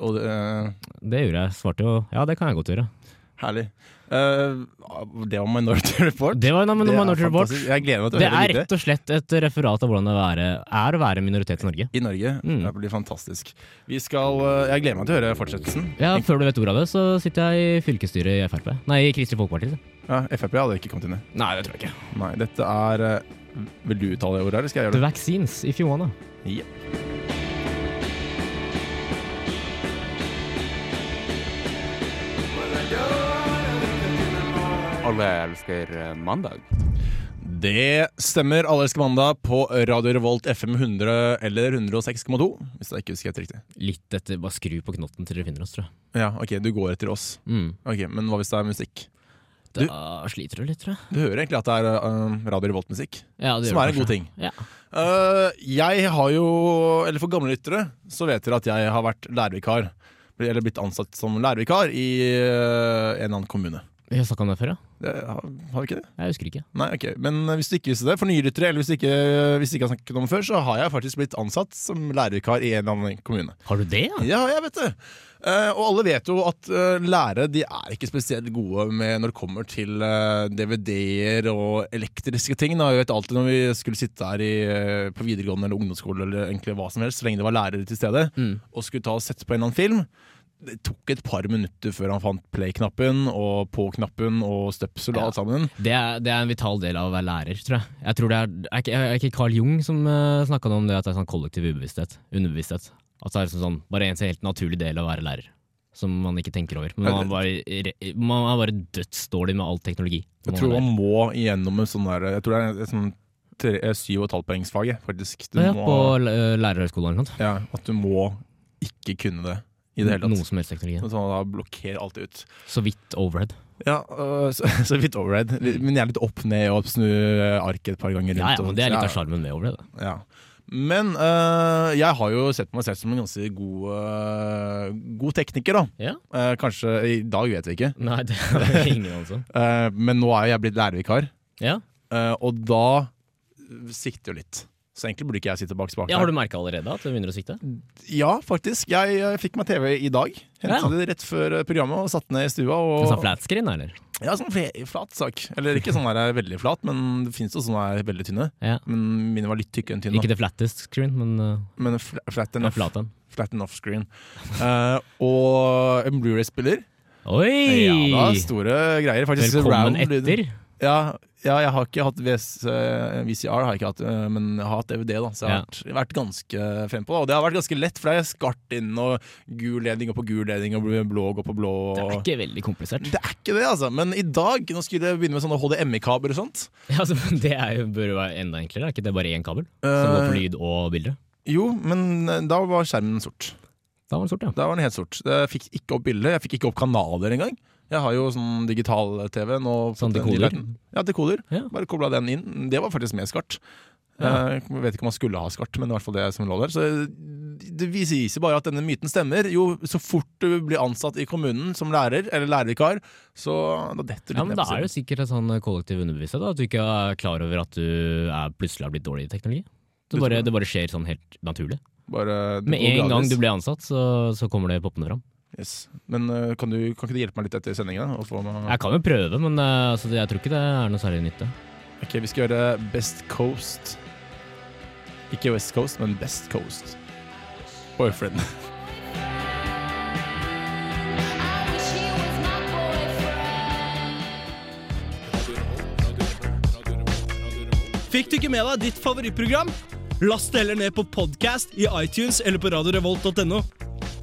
Speaker 2: Og det, eh,
Speaker 3: Det gjorde jeg. Svarte jo ja, det kan jeg godt gjøre.
Speaker 2: herlig. Eh, det var Minority Report.
Speaker 3: Det var en av
Speaker 2: Det er
Speaker 3: Minority Report.
Speaker 2: fantastisk. Jeg gleder meg til
Speaker 3: Det
Speaker 2: å høre
Speaker 3: er
Speaker 2: videre.
Speaker 3: rett og slett et referat av hvordan det er, er å være minoritet i Norge.
Speaker 2: I Norge.
Speaker 3: Mm.
Speaker 2: Det blir fantastisk. Vi skal, eh, jeg gleder meg til å høre fortsettelsen.
Speaker 3: Ja, Før du vet ordet av det, så sitter jeg i fylkesstyret i Frp. Nei, i Kristelig Folkeparti.
Speaker 2: Ja, Frp hadde ikke kommet inn i.
Speaker 3: Nei, det tror jeg ikke.
Speaker 2: Nei, dette er eh, Vil du uttale det ordet, eller skal jeg gjøre det?
Speaker 3: The vaccines, if you wanna.
Speaker 2: Ja.
Speaker 4: Alle elsker eh, mandag.
Speaker 2: Det stemmer. Alle elsker mandag på Radio Revolt FM 100 eller 106,2. Hvis jeg ikke husker helt riktig.
Speaker 3: Litt etter, bare skru på knotten til dere finner oss, tror jeg.
Speaker 2: Ja, ok, Du går etter oss.
Speaker 3: Mm.
Speaker 2: Ok, Men hva hvis det er musikk? Du-
Speaker 3: Da sliter du litt, tror jeg.
Speaker 2: Du hører egentlig at det er eh, Radio Revolt-musikk,
Speaker 3: Ja, det
Speaker 2: som
Speaker 3: gjør
Speaker 2: er
Speaker 3: du
Speaker 2: en god
Speaker 3: kanskje.
Speaker 2: ting.
Speaker 3: Ja.
Speaker 2: Eh, jeg har jo, eller For gamle lyttere så vet dere at jeg har vært lærervikar. Eller blitt ansatt som lærervikar i eh, en annen kommune.
Speaker 3: Vi har snakka om det før, ja.
Speaker 2: Det, har, har vi ikke det?
Speaker 3: Jeg husker ikke.
Speaker 2: Nei, ok. Men hvis du ikke visste det, for nye lyttere, eller hvis du ikke, eh, hvis du ikke har snakket om det før, så har jeg faktisk blitt ansatt som lærervikar i en annen kommune.
Speaker 3: Har du det, ja?
Speaker 2: Ja, jeg vet det. Eh, og alle vet jo at eh, lærere de er ikke spesielt gode med når det kommer til eh, DVD-er og elektriske ting. Da. Jeg vet alltid når vi skulle sitte her i, eh, på videregående eller ungdomsskole, eller egentlig hva som helst, så lenge det var lærere til stede,
Speaker 3: Mm.
Speaker 2: og skulle ta og sette på en eller annen film. Det tok et par minutter før han fant play-knappen og på-knappen og støpsel og
Speaker 3: Ja.
Speaker 2: alt sammen.
Speaker 3: Det er, det er en vital del av å være lærer, tror jeg. Jeg tror det Er er ikke, er ikke Carl Jung som uh, snakka om det at det er sånn kollektiv ubevissthet? Underbevissthet. At det er liksom sånn, bare en helt naturlig del av å være lærer. Som man ikke tenker over. Men man er bare, re- man er bare dødsdårlig med all teknologi.
Speaker 2: Jeg
Speaker 3: når
Speaker 2: tror
Speaker 3: man er
Speaker 2: man må igjennom en sånn der Jeg tror det er et sånn tre- eh, syv og et halvt poengsfag, jeg, faktisk. Du
Speaker 3: lærer. ja,
Speaker 2: må,
Speaker 3: på eh, lærerhøgskolen eller noe sånt.
Speaker 2: ja, at du må ikke kunne det i det hele tatt.
Speaker 3: Noe som helst teknologi.
Speaker 2: Sånn at da blokkerer alt ut.
Speaker 3: Så vidt overhead.
Speaker 2: Ja, øh, så, så litt overhead. Men jeg er litt opp ned og snu øh, arket et par ganger rundt.
Speaker 3: Mm. Ja, ja,
Speaker 2: og
Speaker 3: men
Speaker 2: sånt.
Speaker 3: Det er litt
Speaker 2: Ja,
Speaker 3: av sjarmen med overhead. da.
Speaker 2: ja. Men øh, jeg har jo sett på meg selv som en ganske god, øh, god tekniker, da.
Speaker 3: Ja?
Speaker 2: Eh, kanskje I dag vet vi ikke.
Speaker 3: Nei, det er ingen altså.
Speaker 2: Eh, men nå er jo jeg blitt lærervikar,
Speaker 3: Ja,
Speaker 2: eh, og da sikter jo litt. Så egentlig burde ikke jeg sitte bak spaken.
Speaker 3: ja
Speaker 2: her.
Speaker 3: Har du merka allerede at du begynner å svikte?
Speaker 2: Ja, faktisk. Jeg eh, fikk meg TV i dag. Hentet
Speaker 3: Ja.
Speaker 2: det rett før eh, programmet og satt ned i stua. Og,
Speaker 3: Sånn flatscreen, eller?
Speaker 2: Ja, sånn fle- flat sak. Eller ikke sånn der veldig flat, men det fins jo sånne der veldig tynne.
Speaker 3: Ja.
Speaker 2: Men mine var litt tykke enn tynne.
Speaker 3: Ikke det flattest screen, men eh,
Speaker 2: Men fla- flat
Speaker 3: det er
Speaker 2: enough,
Speaker 3: flat en.
Speaker 2: flat enough screen. Eh, og en Blu-ray-spiller.
Speaker 3: Oi!
Speaker 2: Ja da, store greier. Faktisk
Speaker 3: Velkommen
Speaker 2: round lyd.
Speaker 3: etter.
Speaker 2: Ja, ja, jeg har ikke hatt VS, eh, VCR, har jeg ikke hatt, eh, men jeg har hatt DVD, da, så jeg har
Speaker 3: Ja.
Speaker 2: vært, vært ganske frempå. da. Og det har vært ganske lett, for det er skarpt inn, og gul ledning går på gul ledning, og blå går på blå.
Speaker 3: Det er
Speaker 2: og-
Speaker 3: ikke veldig komplisert.
Speaker 2: Det er ikke det, altså. Men i dag, nå skulle jeg begynne med sånne HDMI-kabler og sånt.
Speaker 3: Ja, altså, men det er jo, bør jo være enda enklere. Er ikke det bare én kabel som går for lyd og bilde?
Speaker 2: Eh, Jo, men eh, da var skjermen sort.
Speaker 3: Da var det sort, ja.
Speaker 2: Da var den helt sort. Jeg fikk ikke opp bilder, jeg fikk ikke opp kanaler engang. Jeg har jo sånn digital-TV nå.
Speaker 3: Sånn
Speaker 2: Den
Speaker 3: dekoder?
Speaker 2: lille- Ja, dekoder.
Speaker 3: Ja.
Speaker 2: Bare kobla den inn. Det var faktisk med skart.
Speaker 3: Ja.
Speaker 2: Eh, Jeg vet ikke om man skulle ha skart, men det var i hvert fall det som lå der. Så eh, det viser bare at denne myten stemmer. Jo, så fort du blir ansatt i kommunen som lærer, eller lærervikar, så da detter du
Speaker 3: Ja, men
Speaker 2: ned
Speaker 3: Det
Speaker 2: på
Speaker 3: er jo sikkert en sånn kollektiv underbevissthet, da, at du ikke er klar over at du er plutselig har blitt dårlig i teknologi.
Speaker 2: Du
Speaker 3: Det bare,
Speaker 2: tror det.
Speaker 3: det bare skjer sånn helt naturlig.
Speaker 2: siden. Bare, eh, det
Speaker 3: Med
Speaker 2: går
Speaker 3: en gang
Speaker 2: gradvis.
Speaker 3: du blir ansatt, så, så kommer det poppende fram.
Speaker 2: Yes. Men eh, kan, du, kan ikke du hjelpe meg litt etter sendingen? da, Og få meg...
Speaker 3: Jeg kan jo prøve, men eh, altså, jeg tror ikke det er noe særlig nytte.
Speaker 2: Ok, vi skal gjøre Best Coast. Ikke West Coast, men Best Coast. Boyfriend.
Speaker 9: Fikk du ikke med deg ditt favorittprogram? Last det heller ned på podcast i iTunes eller på radiorevolt.no.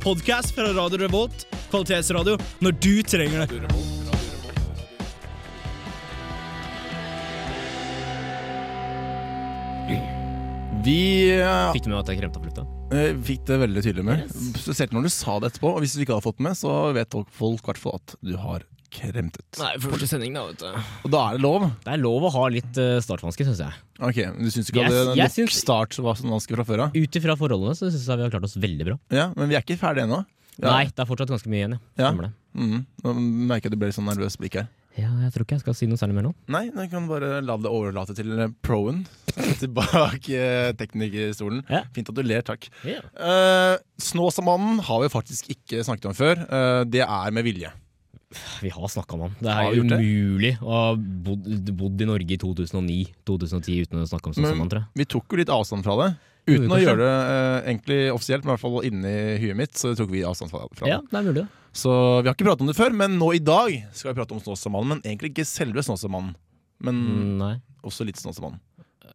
Speaker 9: Podcast fra Radio Revolt, kvalitetsradio, når du trenger det.
Speaker 2: Vi eh,
Speaker 3: Fikk du med at jeg kremta på lufta?
Speaker 2: eh, fikk det veldig tydelig med. Spesielt når du sa det etterpå. Og hvis du ikke hadde fått det med, så vet folk- folk i hvert fall at du har kremtet.
Speaker 3: Nei, første sending, da, vet du.
Speaker 2: Og da er det lov.
Speaker 3: Det er lov å ha litt uh, startvansker, syns jeg.
Speaker 2: Ok, men Du syns ikke
Speaker 3: Jeg-
Speaker 2: at det-
Speaker 3: jeg
Speaker 2: nok
Speaker 3: syns-
Speaker 2: start var sånn vanskelig fra før av?
Speaker 3: Ut ifra forholdene så syns jeg vi har klart oss veldig bra.
Speaker 2: Ja, men vi er ikke ferdige ennå. Ja.
Speaker 3: Nei, det er fortsatt ganske mye igjen, ja.
Speaker 2: Ja.
Speaker 3: Stemmer det.
Speaker 2: Mhm. Nå merker jeg at du ble litt sånn nervøs blikk her.
Speaker 3: Ja, jeg tror ikke jeg skal si noe særlig mer nå.
Speaker 2: Nei, jeg kan bare la det overlate til eh, proen. Tilbake eh, teknikerstolen.
Speaker 3: Ja.
Speaker 2: Fint at du ler, takk.
Speaker 3: Ja.
Speaker 2: Eh, Snåsamannen har vi faktisk ikke snakket om før. Eh, det er med vilje.
Speaker 3: Vi har snakka om han. Det
Speaker 2: Har
Speaker 3: er
Speaker 2: vi gjort det?
Speaker 3: umulig å ha bodd, bodd i Norge i 2009-2010 uten å snakke om sånn
Speaker 2: Men-
Speaker 3: som han, tror jeg.
Speaker 2: Vi tok jo litt avstand fra det.
Speaker 3: Gjorde vi
Speaker 2: Uten å
Speaker 3: kanskje?
Speaker 2: gjøre det eh, egentlig offisielt, men i hvert fall inni huet mitt, så tok vi avstand fra fra det.
Speaker 3: Ja, det er mulig, det.
Speaker 2: Så vi har ikke pratet om det før, men nå i dag skal vi prate om Snåsamannen. Men egentlig ikke selve Snåsamannen, men
Speaker 3: Mm, nei.
Speaker 2: også litt Snåsamannen.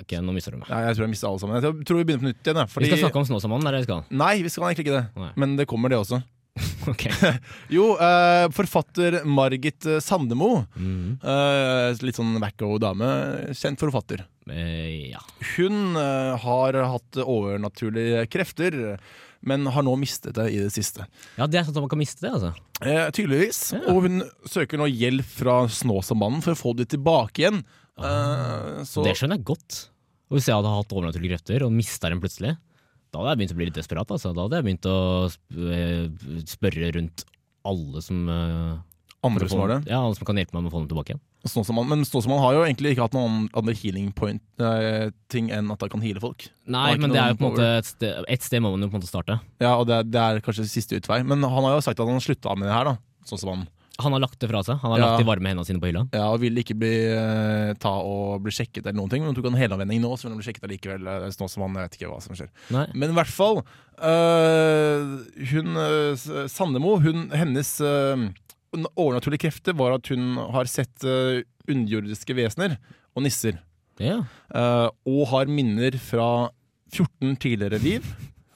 Speaker 3: Ok, nå mister du meg.
Speaker 2: Nei, jeg tror jeg mistet alle sammen. Jeg tror vi begynner på nytt igjen. jeg, Fordi...
Speaker 3: Vi skal snakke om Snåsamannen, er det vi skal?
Speaker 2: Nei, vi skal egentlig ikke det.
Speaker 3: Nei.
Speaker 2: Men det kommer, det også.
Speaker 3: Ok.
Speaker 2: Jo, eh, forfatter Margit eh, Sandemo.
Speaker 3: Mm,
Speaker 2: eh, litt sånn wacko dame. Kjent forfatter.
Speaker 3: eh, ja.
Speaker 2: Hun eh, har hatt overnaturlige krefter, men har nå mistet det i det siste.
Speaker 3: ja, det er sånn at man kan miste det, altså.
Speaker 2: Eh, tydeligvis.
Speaker 3: Ja.
Speaker 2: Og hun søker nå hjelp fra Snåsamannen for å få det tilbake igjen. Eh, så
Speaker 3: Ah. Det skjønner jeg godt. Og hvis jeg hadde hatt overnaturlige krefter og mista dem plutselig, da hadde jeg begynt å bli litt desperat. Altså. Da hadde jeg begynt å sp- eh, spørre rundt alle som, eh, for
Speaker 2: andre
Speaker 3: å
Speaker 2: som
Speaker 3: få,
Speaker 2: har det.
Speaker 3: ja, alle som kan hjelpe meg med å få dem tilbake igjen.
Speaker 2: Snåsamannen- men Snåsamannen har jo egentlig ikke hatt noen andre healing point-ting enn at han kan heale folk.
Speaker 3: Nei,
Speaker 2: ikke
Speaker 3: men det er jo
Speaker 2: noen
Speaker 3: på en måte et sted, et sted må man jo på en måte starte.
Speaker 2: Ja, og det er, det er kanskje siste utvei. Men han har jo sagt at han slutta med det her, da. Sånn som han.
Speaker 3: Han har lagt det fra seg. Han har
Speaker 2: Ja.
Speaker 3: lagt de varme hendene sine på hylla.
Speaker 2: Ja, og ville ikke bli, eh, ta og bli sjekket eller noen ting. Men han tok en helavvenning nå, så vil han bli sjekket allikevel. eh, Nå som han, jeg vet ikke hva som skjer.
Speaker 3: Nei.
Speaker 2: Men i hvert fall, eh, hun eh, S- Sandemo, hun, hennes uh, overnaturlige krefter var at hun har sett eh, underjordiske vesener og nisser.
Speaker 3: Ja.
Speaker 2: eh, og har minner fra 14 tidligere liv.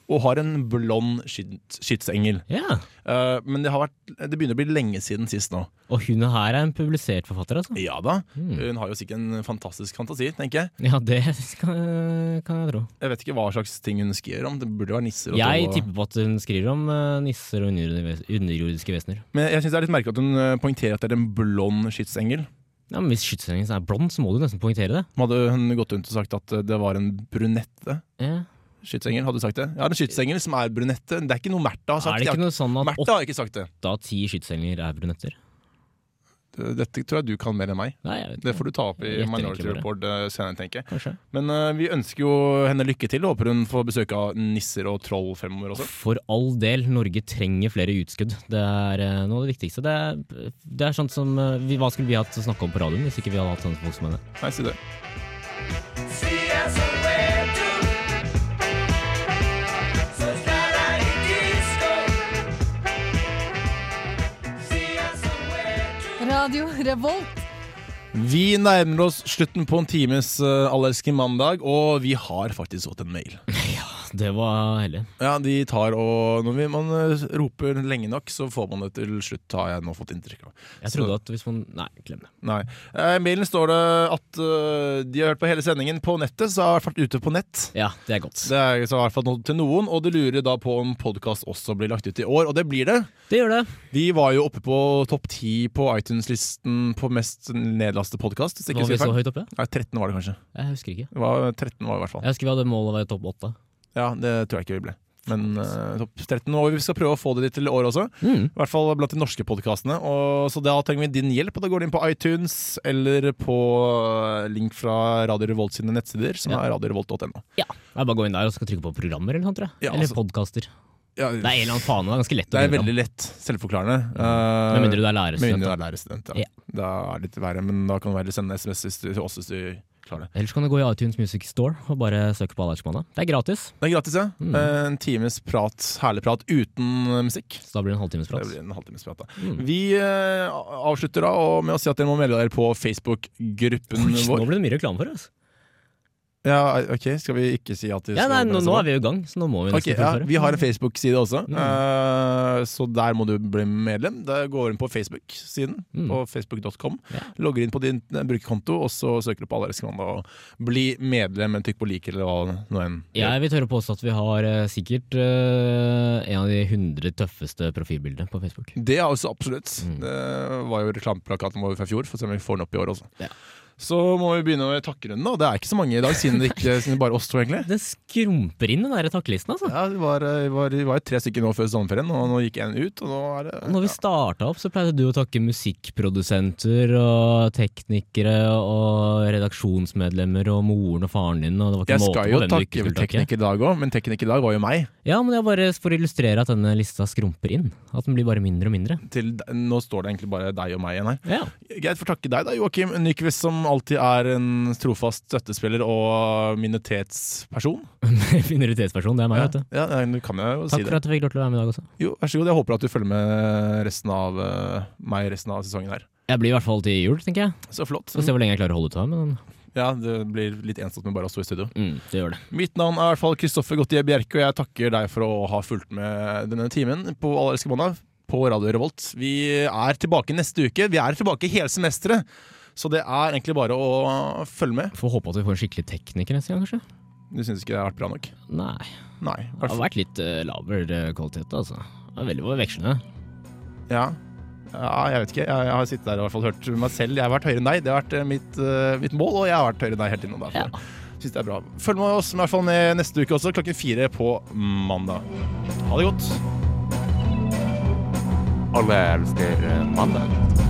Speaker 2: Og har en blond skyts- skytsengel.
Speaker 3: ja.
Speaker 2: Eh, men det, har vært, det begynner å bli lenge siden sist nå.
Speaker 3: Og hun her er en publisert forfatter, altså.
Speaker 2: Ja da.
Speaker 3: Mm.
Speaker 2: Hun har jo sikkert en fantastisk fantasi, tenker jeg.
Speaker 3: Ja, det kan, kan jeg tro.
Speaker 2: Jeg vet ikke hva slags ting hun skriver om. Det burde være nisser og
Speaker 3: Jeg
Speaker 2: troll og-
Speaker 3: tipper på at hun skriver om eh, nisser og underjordiske underjordiske vesener.
Speaker 2: Men jeg synes det er litt merkelig at hun eh, poengterer at det er en blond skytsengel.
Speaker 3: Ja, men Hvis skytsengen er blond, så må du nesten poengtere det.
Speaker 2: Hadde hun gått rundt og sagt at eh, det var en brunette
Speaker 3: Ja.
Speaker 2: skytsengel, hadde du sagt det? Ja, en skytsengel som er brunette. Det er ikke noe Märtha har sagt.
Speaker 3: Er det ikke noe sånn
Speaker 2: Jeg har-
Speaker 3: at
Speaker 2: Märtha har ikke sagt det.
Speaker 3: åtte av ti skytsenger er brunetter?
Speaker 2: Dette tror jeg du kan mer enn meg.
Speaker 3: Nei, jeg vet
Speaker 2: Det
Speaker 3: ikke.
Speaker 2: får du ta opp i
Speaker 3: Jeg gjetter
Speaker 2: Minority
Speaker 3: egentlig
Speaker 2: Report eh, senere, tenker jeg.
Speaker 3: Kanskje.
Speaker 2: Men eh, vi ønsker jo henne lykke til, og håper hun får besøk av nisser og troll fremover også.
Speaker 3: For all del, Norge trenger flere utskudd. Det er eh, noe av det viktigste. Det er, det er sånt som eh, vi, Hva skulle vi hatt å snakke om på radioen hvis ikke vi hadde hatt sånne folk som henne?
Speaker 2: Nei, si det.
Speaker 10: Radio Revolt.
Speaker 2: Vi nærmer oss slutten på en times uh, allerske mandag, og vi har faktisk fått en mail.
Speaker 3: Det var heldig.
Speaker 2: Ja, de tar og Når vi, man eh, roper lenge nok, så får man det til slutt, har jeg nå fått inntrykk av.
Speaker 3: Jeg
Speaker 2: Så-
Speaker 3: trodde at hvis man Nei, glem det.
Speaker 2: Nei. Eh, I mailen står det at eh, de har hørt på hele sendingen på nettet, så har jeg vært ute på nett.
Speaker 3: Ja, det er godt.
Speaker 2: Det er så i hvert fall noe til noen, og de lurer da på om podkast også blir lagt ut i år, og det blir det.
Speaker 3: Det gjør det.
Speaker 2: Vi var jo oppe på topp ti på iTunes-listen på mest nedlastede podkast.
Speaker 3: Var vi så høyt oppe?
Speaker 2: Nei, 13 var det kanskje.
Speaker 3: Jeg husker ikke.
Speaker 2: Det var, 13 var det i hvert fall.
Speaker 3: Jeg husker vi hadde mål å være topp åtte.
Speaker 2: Ja, det tror jeg ikke vi ble. Men eh, topp 13 og Vi skal prøve å få det dit til året også. I hvert fall blant de norske podkastene. Så da trenger vi din hjelp. og Da går du inn på iTunes eller på eh, link fra Radio Revolt sine nettsider, som
Speaker 3: Ja.
Speaker 2: er radiorevolt.no.
Speaker 3: Ja. Det er bare å gå inn der og skal trykke på programmer eller noe sånt, tror jeg.
Speaker 2: Ja,
Speaker 3: eller
Speaker 2: altså-
Speaker 3: podkaster.
Speaker 2: Ja,
Speaker 3: Det er en eller annen fane. Det er ganske lett
Speaker 2: det
Speaker 3: å
Speaker 2: er
Speaker 3: finne fram.
Speaker 2: veldig lett. Selvforklarende. Eh,
Speaker 3: Med mindre du er
Speaker 2: med mindre
Speaker 3: lærerstudent.
Speaker 2: du
Speaker 3: da.
Speaker 2: er lærerstudent.
Speaker 3: Ja.
Speaker 2: Ja. Da er det litt verre, men da kan du heller sende SMS hvis du, til oss hvis du klarer det.
Speaker 3: Ellers kan du gå i iTunes Music Store og bare søke på Allergimandag. Det er gratis,
Speaker 2: Det er gratis, ja.
Speaker 3: Mm.
Speaker 2: Eh, En times prat, herlig prat uten eh, musikk.
Speaker 3: så da blir det en halvtimes prat.
Speaker 2: Det blir en halvtimes prat, da.
Speaker 3: Mm.
Speaker 2: Vi eh, avslutter da og med å si at dere må melde dere på Facebook-gruppen
Speaker 3: Oi, Nå
Speaker 2: vår.
Speaker 3: ble det mye reklame for oss.
Speaker 2: Ja, ok, Skal vi ikke si at vi
Speaker 3: altså. Ja,
Speaker 2: skal
Speaker 3: nei, nå,
Speaker 2: organisere
Speaker 3: nå
Speaker 2: det?
Speaker 3: er vi jo i gang, så nå må vi
Speaker 2: Ok,
Speaker 3: nesten
Speaker 2: ja,
Speaker 3: fullføre.
Speaker 2: Vi har en Facebook-side også,
Speaker 3: Mm.
Speaker 2: eh, så der må du bli medlem. Da går du inn på Facebook-siden,
Speaker 3: Mm.
Speaker 2: på facebook.com.
Speaker 3: Ja.
Speaker 2: Logger inn på din eh, brukerkonto, og så søker du på Allergiskmann og bli medlem. Trykk på like eller hva nå enn.
Speaker 3: Jeg vil tørre å påstå at vi har eh, sikkert eh, en av de 100 tøffeste profilbildene på Facebook.
Speaker 2: Det er også absolutt.
Speaker 3: Mm.
Speaker 2: Det var jo reklameplakaten vår fra i fjor, for å se om vi får den opp i år også.
Speaker 3: Ja.
Speaker 2: Så må vi begynne med takkerunden, da. Det er ikke så mange i dag, siden det ikke siden det bare oss to, egentlig.
Speaker 3: Det skrumper inn den der takkelisten, altså.
Speaker 2: Ja, Vi var, eh, vi var, vi var jo tre stykker nå før sommerferien, og nå gikk én ut. Og nå er det
Speaker 3: Når vi starta opp, så pleide du å takke musikkprodusenter og teknikere og redaksjonsmedlemmer og moren og faren din, og det var ikke
Speaker 2: Jeg
Speaker 3: måte
Speaker 2: skal
Speaker 3: på
Speaker 2: jo
Speaker 3: hvem du ikke
Speaker 2: takke
Speaker 3: skulle takke.
Speaker 2: tekniker i dag òg, men tekniker i dag var jo meg.
Speaker 3: Ja, men det er bare for å illustrere at denne lista skrumper inn. At den blir bare mindre og mindre.
Speaker 2: Til, d- nå står det egentlig bare deg og meg igjen her.
Speaker 3: Ja.
Speaker 2: Greit, får takke deg da, Joakim Nyquist, som alltid er en trofast støttespiller og minoritetsperson.
Speaker 3: Minoritetsperson, det er meg,
Speaker 2: Ja,
Speaker 3: vet du.
Speaker 2: ja, nei, nå kan jeg jo
Speaker 3: Takk
Speaker 2: si
Speaker 3: for
Speaker 2: det.
Speaker 3: at jeg fikk lov til å være med i dag også.
Speaker 2: Jo, Vær så god. Jeg håper at du følger med resten av eh, meg resten av sesongen her.
Speaker 3: Jeg blir i hvert fall til jul, tenker jeg.
Speaker 2: Så flott.
Speaker 3: Så se hvor lenge jeg klarer å holde ut av men
Speaker 2: Ja, Det blir litt ensomt med bare oss to i studio.
Speaker 3: mm, det gjør det.
Speaker 2: Mitt navn er i hvert fall Kristoffer Gottier Bjerke, og jeg takker deg for å ha fulgt med denne timen på Allerske mandag på Radio Revolt. Vi er tilbake neste uke. Vi er tilbake hele semesteret. Så det er egentlig bare å følge med.
Speaker 3: Får håpe at vi får en skikkelig tekniker neste gang, kanskje.
Speaker 2: Du syns ikke det har vært bra nok?
Speaker 3: Nei.
Speaker 2: Nei. i
Speaker 3: Det
Speaker 2: hvert
Speaker 3: har
Speaker 2: fall-
Speaker 3: vært litt uh, laber eh, kvalitet, altså. Det er veldig vekslende.
Speaker 2: Ja. ja, jeg vet ikke. Jeg, jeg har sittet der og i hvert fall hørt meg selv. Jeg har vært høyere enn deg. Det har vært eh, mitt, eh, mitt mål, og jeg har vært høyere enn deg hele tiden. og Derfor synes det er bra. Følg med oss i hvert fall med neste uke også, klokken fire på mandag. Ha det godt.
Speaker 4: Alle elsker eh, mandag.